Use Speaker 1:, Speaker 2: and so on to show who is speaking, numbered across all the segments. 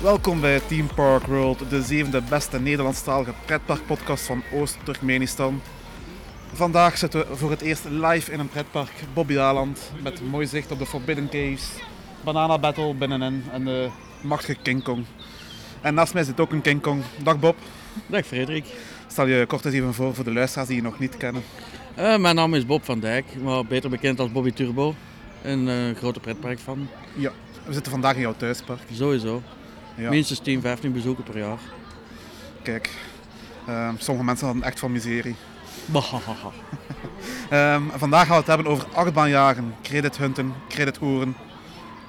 Speaker 1: Welkom bij Team Park World, de zevende beste Nederlandstalige pretparkpodcast van Oost-Turkmenistan. Vandaag zitten we voor het eerst live in een pretpark, Bobby Daland, met mooi zicht op de Forbidden Caves, Banana Battle binnenin en de machtige King Kong. En naast mij zit ook een King Kong. Dag Bob,
Speaker 2: Dag Frederik.
Speaker 1: stel je kort eens even voor voor de luisteraars die je nog niet kennen.
Speaker 2: Eh, mijn naam is Bob van Dijk, maar beter bekend als Bobby Turbo. Een eh, grote pretpark van,
Speaker 1: Ja, we zitten vandaag in jouw thuispark.
Speaker 2: sowieso.
Speaker 1: Ja.
Speaker 2: Minstens 10, 15 bezoeken per jaar.
Speaker 1: Kijk, ehm, sommige mensen hadden echt van miserie.
Speaker 2: Bahahaha.
Speaker 1: Ehm, vandaag gaan we het hebben over achtbaanjagen, credit hunten, credit hoeren.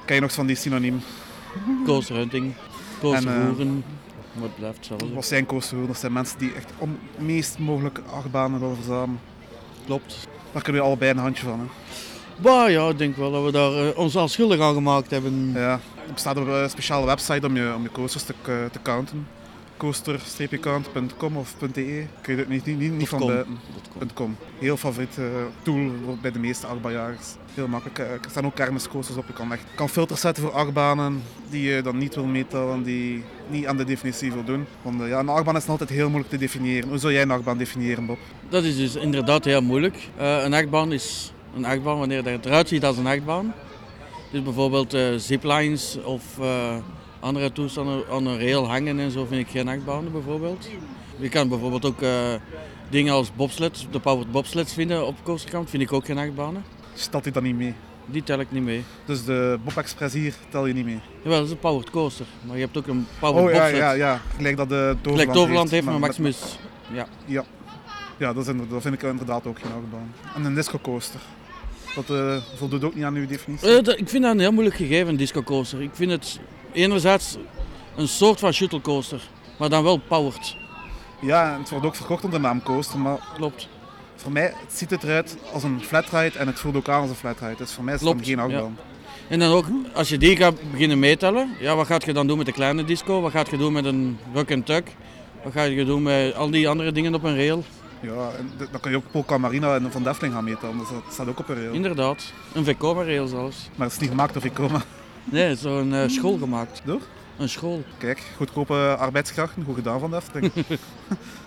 Speaker 1: Ken je nog eens van die synoniem?
Speaker 2: Coaster hunting, coaster
Speaker 1: En, eh,
Speaker 2: roeren, wat blijft hetzelfde.
Speaker 1: Wat zijn coasterhoeren? Dat zijn mensen die echt om het meest mogelijke achtbanen willen verzamelen.
Speaker 2: Klopt.
Speaker 1: Daar kunnen we allebei een handje van. Hè?
Speaker 2: Bah ja, ik denk wel dat we daar eh, ons al schuldig aan gemaakt hebben.
Speaker 1: Ja, er bestaat een eh, speciale website om je, om je coasters te, eh, te counten. coaster-count.com of .de. Kun je er niet, niet, niet, niet van
Speaker 2: .com.
Speaker 1: buiten.
Speaker 2: Dat komt.
Speaker 1: .com. Heel favoriet eh, tool voor- bij de meeste achtbaanjagers. Heel makkelijk. eh, Er staan ook kermiscoasters op. Je kan, echt, je kan filters zetten voor achtbanen die je dan niet wil meetellen, die niet aan de definitie voldoen. Want eh, ja, een achtbaan is altijd heel moeilijk te definiëren. Hoe zou jij een achtbaan definiëren, Bob?
Speaker 2: Dat is dus inderdaad heel moeilijk. Eh, een achtbaan is een achtbaan wanneer dat het eruit ziet als een achtbaan. Dus bijvoorbeeld eh, ziplines of eh, andere toestanden aan een rail hangen en zo vind ik geen achtbanen bijvoorbeeld. Je kan bijvoorbeeld ook eh, dingen als bobsleds, de powered bobsleds vinden op coasterkant, vind ik ook geen achtbanen.
Speaker 1: Stelt die dan niet mee?
Speaker 2: Die tel ik niet mee.
Speaker 1: Dus de Bob Express hier tel je niet mee.
Speaker 2: Jawel, dat is een powered coaster, maar je hebt ook een powered
Speaker 1: Oh ja,
Speaker 2: bobsled.
Speaker 1: ja, ja. Gelijk dat de Toverland,
Speaker 2: Gelijk Toverland heeft
Speaker 1: maar
Speaker 2: met
Speaker 1: met-
Speaker 2: Maximus. Ja.
Speaker 1: Ja, dat, is inderdaad- dat vind ik inderdaad ook geen achtbaan. En een disco coaster. Dat eh, voldoet ook niet aan uw definitie.
Speaker 2: Eh, dat- ik vind dat een heel moeilijk gegeven, een discocoaster. Ik vind het enerzijds een soort van shuttlecoaster, maar dan wel powered.
Speaker 1: Ja, en het wordt ook verkocht onder de naam coaster, maar
Speaker 2: Klopt.
Speaker 1: Voor mij het ziet het eruit als een flatride en het voelt ook aan als een flatride. Dus voor mij is het dan
Speaker 2: Klopt,
Speaker 1: geen achtbaan.
Speaker 2: En dan ook, als je die gaat beginnen meetellen, ja, wat gaat je dan doen met de kleine disco? Wat gaat je doen met een rock and tuck? Wat ga je doen met al die andere dingen op een rail?
Speaker 1: Ja, en d- dan kan je ook Polka Marina en Van Defling gaan meten, dus dat staat ook op een rail.
Speaker 2: Inderdaad, een Vekoma rail zelfs.
Speaker 1: Maar het is niet gemaakt door Vicoma.
Speaker 2: Nee, het is door een eh, school gemaakt.
Speaker 1: Door?
Speaker 2: Een school.
Speaker 1: Kijk, goedkope arbeidskrachten, goed gedaan Van Defling.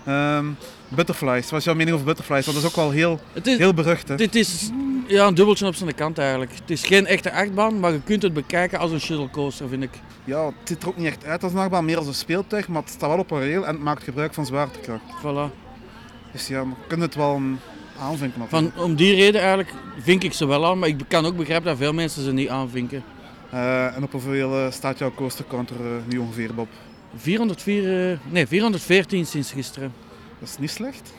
Speaker 1: Ehm, butterflies, wat is jouw mening over butterflies? Want dat is ook wel heel,
Speaker 2: Het is,
Speaker 1: heel berucht. Hè?
Speaker 2: Dit is ja, een dubbeltje op zijn kant eigenlijk. Het is geen echte achtbaan, maar je kunt het bekijken als een shuttlecoaster, vind ik.
Speaker 1: Ja, het ziet er ook niet echt uit als een achtbaan, meer als een speeltuig, maar het staat wel op een rail en het maakt gebruik van zwaartekracht.
Speaker 2: Voilà.
Speaker 1: Dus ja, we kunnen het wel een aanvinken. natuurlijk.
Speaker 2: Van, om die reden eigenlijk vink ik ze wel aan, maar ik kan ook begrijpen dat veel mensen ze niet aanvinken.
Speaker 1: Eh, en op hoeveel eh, staat jouw coaster counter eh, nu ongeveer, Bob?
Speaker 2: 404, eh, nee, 414 sinds gisteren.
Speaker 1: Dat is niet slecht.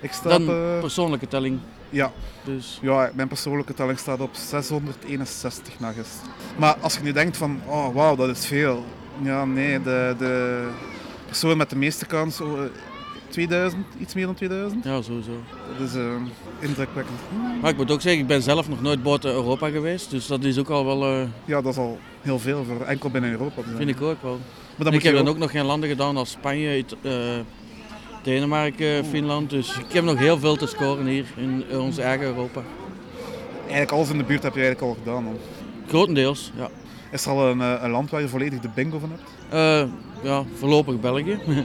Speaker 1: Ik sta
Speaker 2: Dan
Speaker 1: op, eh,
Speaker 2: persoonlijke telling.
Speaker 1: ja,
Speaker 2: Dus
Speaker 1: ja, mijn persoonlijke telling staat op 661 na gisteren. Maar als je nu denkt van, oh wauw, dat is veel. Ja, nee, de, de persoon met de meeste kans, oh, eh, 2000, iets meer dan 2000.
Speaker 2: ja, sowieso.
Speaker 1: Dat is eh, indrukwekkend.
Speaker 2: Maar ik moet ook zeggen, ik ben zelf nog nooit buiten Europa geweest. Dus dat is ook al wel, eh,
Speaker 1: Ja, dat is al heel veel voor enkel binnen Europa. te zijn.
Speaker 2: vind ik ook wel.
Speaker 1: Maar
Speaker 2: En
Speaker 1: dan
Speaker 2: ik
Speaker 1: moet
Speaker 2: heb
Speaker 1: je
Speaker 2: dan
Speaker 1: ook,
Speaker 2: ook nog geen landen gedaan als Spanje, It- eh, Denemarken, Finland. Dus ik heb nog heel veel te scoren hier in eh, ons eigen Europa.
Speaker 1: eigenlijk alles in de buurt heb je eigenlijk al gedaan. Dan.
Speaker 2: Grotendeels, ja.
Speaker 1: Is er al een, eh, een land waar je volledig de bingo van hebt?
Speaker 2: Eh, ja, voorlopig België.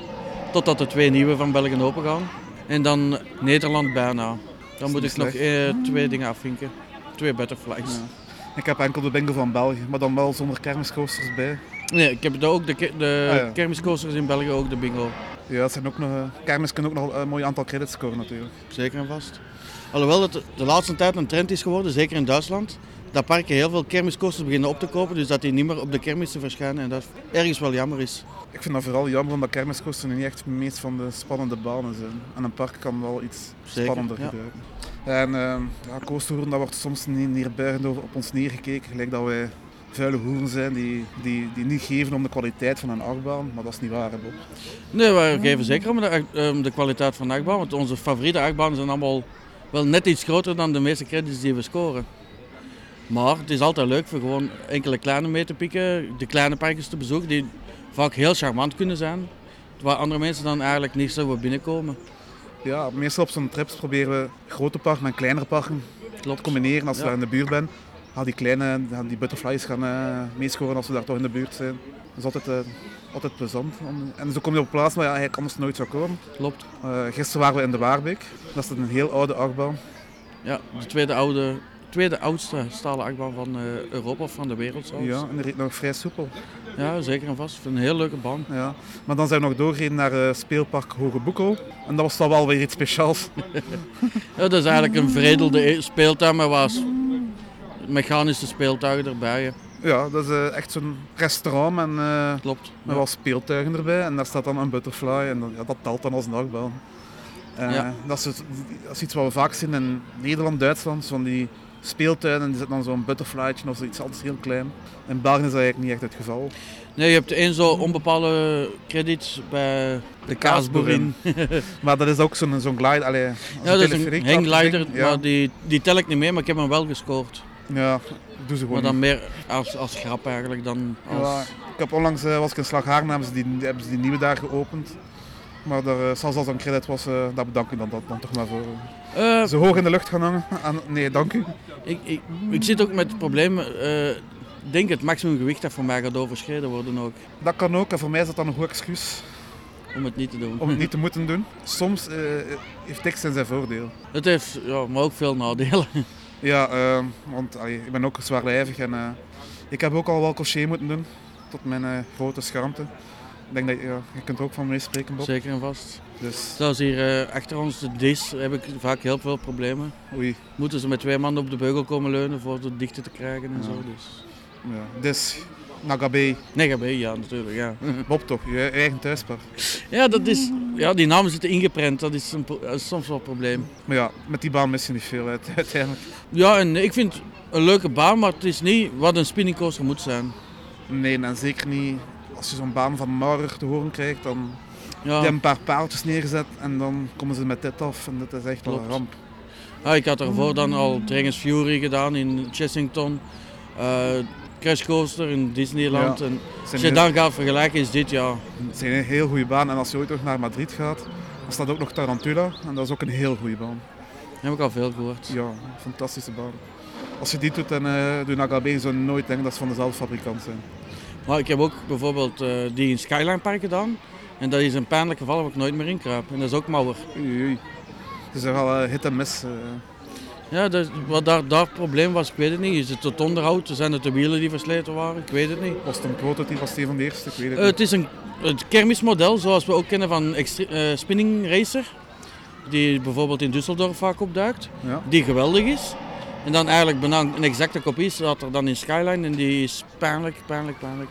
Speaker 2: Totdat de twee nieuwe van België open gaan. En dan Nederland bijna. Dan moet
Speaker 1: niet
Speaker 2: ik nog eh, twee dingen afvinken. Twee butterflies.
Speaker 1: Ja. Ik heb enkel de bingo van België, maar dan wel zonder kermiscoasters bij.
Speaker 2: Nee, ik heb daar ook de, ke- de
Speaker 1: Ah, ja.
Speaker 2: kermiscoasters in België ook de bingo.
Speaker 1: Ja, dat zijn ook nog, eh, kermis kunnen ook nog een mooi aantal credits scoren natuurlijk.
Speaker 2: Zeker en vast. Alhoewel dat de laatste tijd een trend is geworden, zeker in Duitsland, dat parken heel veel kermiscoasters beginnen op te kopen, dus dat die niet meer op de kermissen verschijnen en dat ergens wel jammer is.
Speaker 1: Ik vind dat vooral jammer omdat kermiskosten niet echt het meest van de spannende banen zijn. En een park kan wel iets
Speaker 2: Zeker,
Speaker 1: spannender
Speaker 2: ja.
Speaker 1: gebeuren. En eh ja, coasterhoeren, daar wordt soms niet neerbuigend over op ons neergekeken. Gelijk dat wij vuile hoeren zijn die, die, die niet geven om de kwaliteit van een achtbaan. Maar dat is niet waar, hè, Bob.
Speaker 2: Nee, we geven zeker om de, acht- ehm, de kwaliteit van de achtbaan. Want onze favoriete achtbanen zijn allemaal wel net iets groter dan de meeste credits die we scoren. Maar het is altijd leuk voor gewoon enkele kleine mee te pikken, de kleine parkjes te bezoeken, die vaak heel charmant kunnen zijn. Waar andere mensen dan eigenlijk niet zouden binnenkomen.
Speaker 1: Ja, meestal op zo'n trips proberen we grote parken en kleinere parken te
Speaker 2: Klopt.
Speaker 1: combineren als je
Speaker 2: Ja.
Speaker 1: daar in de buurt bent. Ga die kleine, gaan die butterflies gaan eh, meescoren als we daar toch in de buurt zijn. Dat is altijd, eh, altijd plezant. Om- En zo kom je op plaatsen waar je eigenlijk anders nooit zou komen.
Speaker 2: Klopt.
Speaker 1: Eh, gisteren waren we in de Waarbeek. Dat is een heel oude achtbaan.
Speaker 2: Ja, de tweede, oude, tweede oudste stalen achtbaan van eh, Europa of van de wereld zelfs.
Speaker 1: Ja, en die reed nog vrij soepel.
Speaker 2: Ja, zeker en vast. Ik vind het een heel leuke baan.
Speaker 1: Ja. Maar dan zijn we nog doorgereden naar eh, speelpark Hoge Boekel. En dat was dan wel weer iets speciaals.
Speaker 2: Ja, dat is eigenlijk een veredelde e- speeltuin, maar waar s- mechanische speeltuigen erbij. hè.
Speaker 1: Ja, dat is eh, echt zo'n restaurant en eh,
Speaker 2: Klopt.
Speaker 1: met
Speaker 2: Ja.
Speaker 1: wel speeltuigen erbij. En daar staat dan een butterfly en dan, ja, dat telt dan als een achtbaan. Eh,
Speaker 2: Ja.
Speaker 1: dat, is, het- dat is iets wat we vaak zien in Nederland, Duitsland. Van die speeltuinen, die zit dan zo'n butterflytje of zoiets anders heel klein. In België is dat eigenlijk niet echt het geval.
Speaker 2: Nee, je hebt één zo onbepaalde krediet bij de kaasboerin.
Speaker 1: Maar dat is ook zo'n zo'n glide, allee, zo'n
Speaker 2: Ja, dat is een
Speaker 1: teleferiek,
Speaker 2: hangglider,
Speaker 1: ding. ja.
Speaker 2: maar die, die tel ik niet mee, maar ik heb hem wel gescoord.
Speaker 1: Ja, doe ze gewoon
Speaker 2: Maar dan meer als, als grap eigenlijk dan
Speaker 1: niet. Ja,
Speaker 2: als...
Speaker 1: Ik heb onlangs, eh, was ik in Slagharen, hebben ze die, hebben ze die nieuwe daar geopend. Maar daar, eh, zelfs als dat een credit was, eh daar bedank ik dan, dat dan toch maar voor.
Speaker 2: Eh,
Speaker 1: Ze hoog in de lucht gaan hangen. En, nee, dank u.
Speaker 2: ik, ik, ik zit ook met het probleem, eh, ik denk het maximum gewicht dat voor mij gaat overschreden worden ook,
Speaker 1: Dat kan ook, en voor mij is dat dan een goed excuus
Speaker 2: om het niet te doen.
Speaker 1: om het niet te moeten doen. Soms eh, heeft tekst zijn zijn voordeel.
Speaker 2: Het heeft, ja, maar ook veel nadelen.
Speaker 1: Ja, eh, want allee, ik ben ook zwaarlijvig en eh, ik heb ook al wel crochet moeten doen, tot mijn eh, grote schaamte. Ik denk dat ja, je kunt er ook van meespreken, Bob.
Speaker 2: Zeker en vast.
Speaker 1: Dus,
Speaker 2: Zelfs hier eh, achter ons, de dis, heb ik vaak heel veel problemen.
Speaker 1: oei.
Speaker 2: Moeten ze met twee mannen op de beugel komen leunen voor het dichter te krijgen en
Speaker 1: Ja.
Speaker 2: zo. Dus.
Speaker 1: Ja. Dus, Nagabe,
Speaker 2: Nee, ga mee, ja, natuurlijk. Ja.
Speaker 1: Bob toch, je eigen thuispark.
Speaker 2: ja, dat is, ja, die namen zitten ingeprent, dat is, een pro- dat is soms wel een probleem.
Speaker 1: Maar ja, met die baan mis je niet veel uit, uiteindelijk.
Speaker 2: Ja, en ik vind het een leuke baan, maar het is niet wat een spinning coaster moet zijn.
Speaker 1: Nee, en zeker niet als je zo'n baan van Maurer te horen krijgt, dan
Speaker 2: Ja.
Speaker 1: heb je een paar paaltjes neergezet en dan komen ze met dit af en dat is echt wel een
Speaker 2: Klopt.
Speaker 1: ramp.
Speaker 2: Ja, ik had daarvoor dan al Dragons Fury gedaan in Chessington, eh Crash Coaster in Disneyland.
Speaker 1: Ja.
Speaker 2: En
Speaker 1: Het
Speaker 2: als
Speaker 1: zijn,
Speaker 2: je
Speaker 1: heel,
Speaker 2: dan gaat vergelijken, is dit ja.
Speaker 1: het zijn een heel goede baan en als je ooit nog naar Madrid gaat, dan staat ook nog Tarantula en dat is ook een heel goede baan.
Speaker 2: Heb ik al veel gehoord.
Speaker 1: Ja, een fantastische baan. Als je die doet, dan eh doe Nagabe zo nooit denken dat ze van dezelfde fabrikant zijn.
Speaker 2: Maar ik heb ook bijvoorbeeld eh, die in Skyline Park gedaan. En dat is een pijnlijk geval waar ik nooit meer in kruip. En dat is ook Mauer.
Speaker 1: Oei, oei. Het is er al hit en miss. eh.
Speaker 2: Ja, dat, wat daar, daar het probleem was, ik weet het niet. Is het het onderhoud? Zijn het de wielen die versleten waren? Ik weet het niet.
Speaker 1: Was het een prototype? Was het een van de eerste? Ik weet het
Speaker 2: Eh,
Speaker 1: niet.
Speaker 2: het is een, het kermismodel zoals we ook kennen van extre- eh, Spinning Racer. Die bijvoorbeeld in Düsseldorf vaak opduikt.
Speaker 1: Ja.
Speaker 2: Die geweldig is. En dan eigenlijk bijna een exacte kopie staat er dan in Skyline. En die is pijnlijk, pijnlijk, pijnlijk.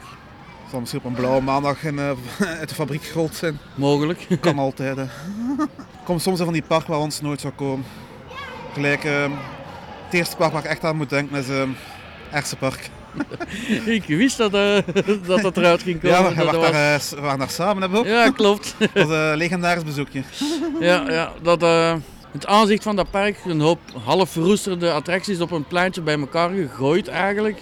Speaker 1: Het zal misschien op een blauwe maandag in, eh, uit de fabriek gerold zijn.
Speaker 2: Mogelijk.
Speaker 1: Kan altijd. Hè. Kom soms in van die park waar ons nooit zou komen. Gelijk, eh, het eerste park waar ik echt aan moet denken is eh Ersenpark.
Speaker 2: ik wist dat, eh, dat dat eruit ging komen.
Speaker 1: Ja, we,
Speaker 2: dat dat
Speaker 1: waren
Speaker 2: was-
Speaker 1: daar, eh, s- we waren daar samen, hebben we ook.
Speaker 2: Ja, klopt.
Speaker 1: Dat was een legendarisch bezoekje.
Speaker 2: Ja, ja dat, eh, het aanzicht van dat park, een hoop half verroesterde attracties op een pleintje bij elkaar gegooid eigenlijk.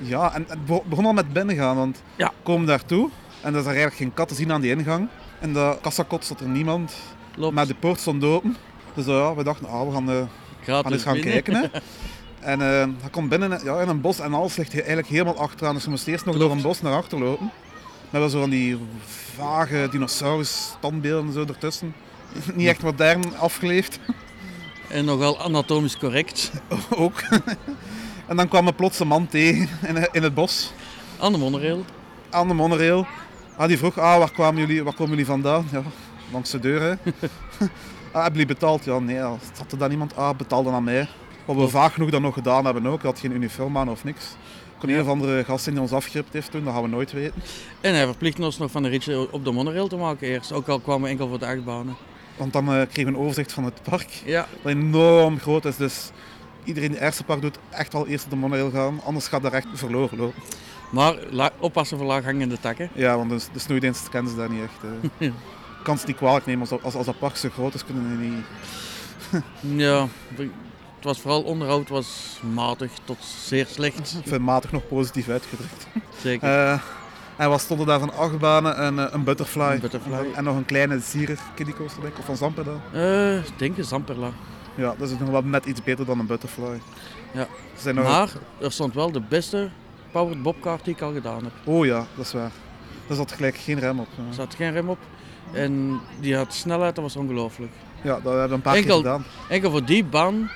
Speaker 1: Ja, en het be- begon al met binnengaan, want
Speaker 2: Ja.
Speaker 1: we komen daartoe en er is er eigenlijk geen kat te zien aan die ingang. In de kassakot zat er niemand,
Speaker 2: Klopt.
Speaker 1: maar de poort stond open. Dus eh, ja, we dachten, ah, we gaan, eh,
Speaker 2: Gratis
Speaker 1: gaan eens gaan
Speaker 2: dus binnen.
Speaker 1: kijken. Hè. En eh, hij komt binnen ja, in een bos en alles ligt he- eigenlijk helemaal achteraan. Dus je moest eerst nog
Speaker 2: Klopt.
Speaker 1: door een bos naar achter lopen. Met wel zo van die vage dinosaurus-standbeelden zo ertussen. Niet echt modern afgeleefd,
Speaker 2: En nogal anatomisch correct.
Speaker 1: ook. en dan kwam er plots een man tegen in, in het bos.
Speaker 2: Aan de monorail.
Speaker 1: aan de monorail. Ah, die vroeg, ah, waar, kwamen jullie, waar komen jullie vandaan? Ja, langs de deur, hè. ah, hebben jullie betaald? Ja, nee, ja. zat er dan iemand? Ah, betaalde aan mij. Wat we vaag genoeg dan nog gedaan hebben ook. Hij had geen uniform aan of niks. Kon een of andere gast zijn die ons afgript heeft toen, dat gaan we nooit weten.
Speaker 2: En hij verplichtte ons nog van een ritje op de monorail te maken eerst. Ook al kwamen we enkel voor de achtbanen.
Speaker 1: Want dan eh, kregen we een overzicht van het park,
Speaker 2: Ja.
Speaker 1: dat enorm groot is. Dus iedereen die eerste park doet, echt wel eerst op de monorail gaan. Anders gaat dat echt verloren lopen.
Speaker 2: Maar la- oppassen voor laaghangende takken.
Speaker 1: Ja, want dus, de, de snoeidienst kennen ze daar niet echt. eh. Ik kan ze niet kwalijk nemen, als, dat- als, als dat park zo groot is, kunnen ze niet...
Speaker 2: Ja, het was vooral onderhoud was matig tot zeer slecht.
Speaker 1: Ik vind matig nog positief uitgedrukt.
Speaker 2: Zeker.
Speaker 1: Eh, en wat stonden daar van achtbanen? Een, eh, een butterfly.
Speaker 2: Een butterfly.
Speaker 1: En nog een kleine zierer kiddiecoaster, denk ik. Of van Zamperda.
Speaker 2: Eh, Ik denk een Zamperla.
Speaker 1: Ja, dat is nog wel net iets beter dan een butterfly.
Speaker 2: Ja.
Speaker 1: Ze Zijn nog
Speaker 2: Maar er stond wel de beste powered bobkaart die ik al gedaan heb.
Speaker 1: Oh ja, dat is waar. Daar zat gelijk geen rem op.
Speaker 2: Er
Speaker 1: Ja,
Speaker 2: zat geen rem op en die had snelheid, dat was ongelooflijk.
Speaker 1: Ja, dat hebben we een paar keer
Speaker 2: Enkel-
Speaker 1: gedaan.
Speaker 2: Enkel voor die baan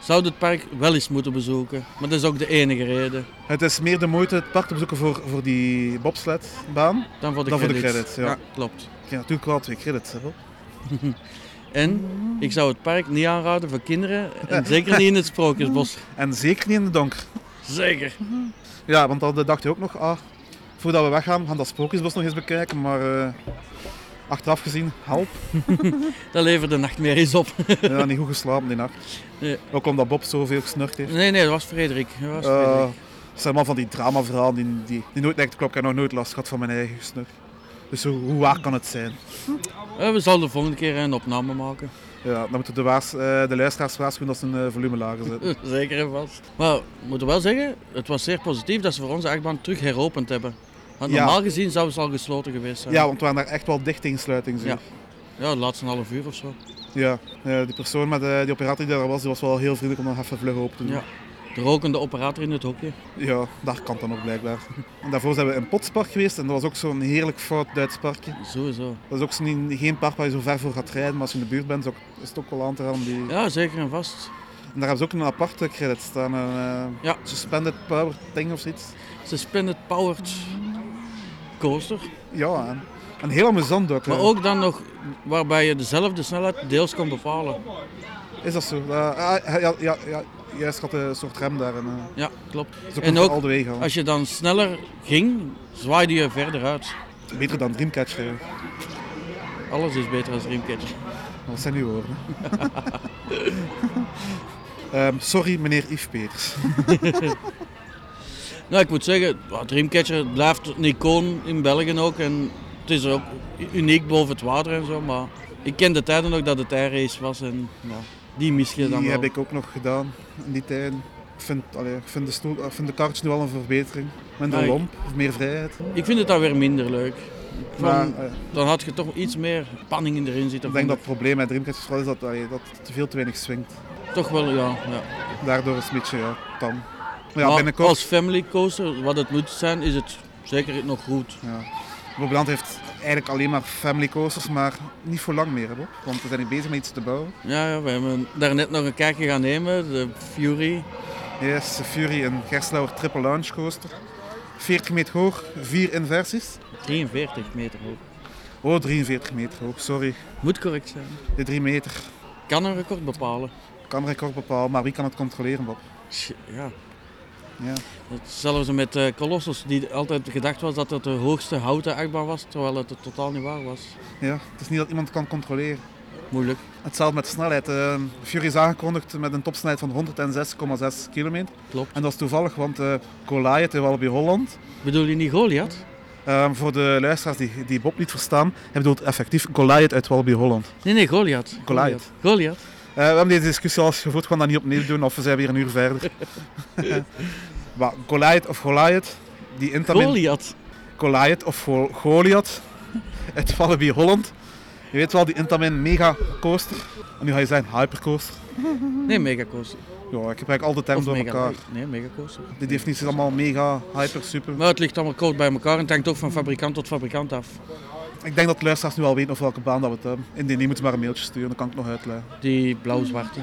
Speaker 2: zou je het park wel eens moeten bezoeken, maar dat is ook de enige reden
Speaker 1: Het is meer de moeite het park te bezoeken voor, voor die bobsledbaan.
Speaker 2: dan voor de
Speaker 1: Dan voor de
Speaker 2: credits.
Speaker 1: credits, ja.
Speaker 2: klopt.
Speaker 1: Ik heb natuurlijk wel twee credits. Hè, Bob.
Speaker 2: En ik zou het park niet aanraden voor kinderen en zeker niet in het Sprookjesbos.
Speaker 1: En zeker niet in de donker.
Speaker 2: Zeker.
Speaker 1: Ja, want dan dacht je ook nog, ah, voordat we weggaan, we gaan dat Sprookjesbos nog eens bekijken. Maar eh, achteraf gezien, help.
Speaker 2: Dat levert de nachtmerries op.
Speaker 1: Ja, niet goed geslapen die nacht.
Speaker 2: Nee.
Speaker 1: Ook omdat Bob zoveel gesnurkt heeft.
Speaker 2: Nee, nee, dat was Frederik. Dat was
Speaker 1: Eh,
Speaker 2: Frederik.
Speaker 1: Het zijn maar van die dramaverhalen die, die, die nooit lijkt te kloppen. Ik heb nog nooit last gehad van mijn eigen gesnurk. Dus hoe, hoe waar kan het zijn?
Speaker 2: Eh, we zullen de volgende keer een opname maken.
Speaker 1: Ja, dan moeten de, waars, eh, de luisteraars waarschuwen dat ze een eh, volume lager zetten.
Speaker 2: Zeker en vast. Maar we moeten wel zeggen, het was zeer positief dat ze voor onze achtbaan terug heropend hebben. Want
Speaker 1: Ja.
Speaker 2: normaal gezien zouden ze al gesloten geweest zijn.
Speaker 1: Ja, want we waren daar echt wel dicht tegen sluiting. zeg.
Speaker 2: Ja. Ja, de laatste half uur of zo.
Speaker 1: Ja, eh, die persoon met eh, die operator die daar was, die was wel heel vriendelijk om nog even vlug open te doen.
Speaker 2: Ja. De rokende operator in het hokje.
Speaker 1: Ja, daar kan dan ook blijkbaar. En daarvoor zijn we in Potspark geweest en dat was ook zo'n heerlijk fout Duits parkje.
Speaker 2: Sowieso.
Speaker 1: Dat is ook zo'n- geen park waar je zo ver voor gaat rijden, maar als je in de buurt bent is, ook, is het ook wel aan te raden. Die...
Speaker 2: Ja, zeker en vast.
Speaker 1: En daar hebben ze ook een aparte credit staan, een eh,
Speaker 2: Ja.
Speaker 1: suspended power thing of zoiets.
Speaker 2: Suspended powered coaster.
Speaker 1: Ja, en, en heel amusant ook.
Speaker 2: Maar
Speaker 1: eh.
Speaker 2: ook dan nog waarbij je dezelfde snelheid deels kan bepalen.
Speaker 1: Is dat zo? Dat- ah, ja, ja, ja, juist had een soort rem daar. En, eh,
Speaker 2: Ja, klopt.
Speaker 1: dat is ook
Speaker 2: En
Speaker 1: nog
Speaker 2: ook
Speaker 1: al de wegen.
Speaker 2: Als je dan sneller ging, zwaaide je verder uit.
Speaker 1: Beter dan Dreamcatcher. eh.
Speaker 2: Alles is beter als Dreamcatcher.
Speaker 1: Dat zijn uw woorden. Ehm, sorry, meneer Yves Peters.
Speaker 2: Nou, ik moet zeggen, ja, Dreamcatcher blijft een icoon in België ook. En het is ook uniek boven het water en zo. Maar ik ken de tijden nog dat het race was. En ja, die mis je dan
Speaker 1: Die
Speaker 2: wel.
Speaker 1: heb ik ook nog gedaan in die tijd. Ik vind, allee, ik vind de, stoel, ik vind de kaartjes nu wel een verbetering. Minder
Speaker 2: Nee.
Speaker 1: lomp, of meer vrijheid.
Speaker 2: Ik vind het dan weer minder leuk. Van-
Speaker 1: Maar eh,
Speaker 2: Dan had je toch iets meer panning erin zitten.
Speaker 1: ik denk dat
Speaker 2: vond
Speaker 1: het probleem met Dreamcatcher vooral is dat, allee, dat het veel te weinig swingt.
Speaker 2: ik. Toch wel, ja. ja.
Speaker 1: Daardoor is het een beetje ja, tam. Maar ja,
Speaker 2: Maar
Speaker 1: binnenkort.
Speaker 2: Als family coaster, wat het moet zijn, is het zeker nog goed.
Speaker 1: Ja. Bobbeland heeft eigenlijk alleen maar family coasters, maar niet voor lang meer. Hè, Bob? Want we zijn nu bezig met iets te bouwen.
Speaker 2: Ja, ja, we hebben daarnet nog een kijkje gaan nemen. De Fury.
Speaker 1: Yes, Fury, een Gerslauer triple launch coaster. 40 meter hoog, 4 inversies.
Speaker 2: 43 meter hoog.
Speaker 1: Oh, 43 meter hoog, sorry.
Speaker 2: Moet correct zijn.
Speaker 1: De 3 meter.
Speaker 2: Kan een record bepalen.
Speaker 1: Kan record bepalen, maar wie kan het controleren, Bob?
Speaker 2: Tj, Ja.
Speaker 1: Ja.
Speaker 2: Dat Zelfs met eh Colossus, die altijd gedacht was dat het de hoogste houten achtbaan was, terwijl het, het totaal niet waar was.
Speaker 1: ja. Het is niet dat iemand kan controleren.
Speaker 2: Moeilijk.
Speaker 1: Hetzelfde met de snelheid. eh, Fury is aangekondigd met een topsnelheid van 106,6 kilometer.
Speaker 2: Klopt.
Speaker 1: En dat is toevallig, want eh Goliath in Walibi Holland
Speaker 2: Bedoel je niet Goliath?
Speaker 1: Ehm, voor de luisteraars die, die Bob niet verstaan, hij bedoelt effectief Goliath uit Walby Holland.
Speaker 2: Nee, nee, Goliath.
Speaker 1: Goliath.
Speaker 2: Goliath.
Speaker 1: Eh, we hebben deze discussie al eens gevoerd, we gaan dat niet opnieuw doen of we zijn weer een uur verder. maar Goliath of Goliath, die intamin
Speaker 2: Goliath.
Speaker 1: Goliath of Go- Goliath uit Walby Holland. Je weet wel, die intamin mega coaster. En nu ga je zeggen hypercoaster.
Speaker 2: Nee, megacoaster.
Speaker 1: Ja, ik gebruik al de termen
Speaker 2: Of
Speaker 1: door
Speaker 2: mega.
Speaker 1: elkaar.
Speaker 2: Nee, megacoaster.
Speaker 1: Die definitie is allemaal mega, hyper, super.
Speaker 2: Maar het ligt allemaal kort bij elkaar en het hangt ook van fabrikant tot fabrikant af.
Speaker 1: Ik denk dat de luisteraars nu al weten over welke baan dat we het hebben. Indien niet, moeten maar een mailtje sturen, dan kan ik nog uitleggen.
Speaker 2: Die blauw-zwarte.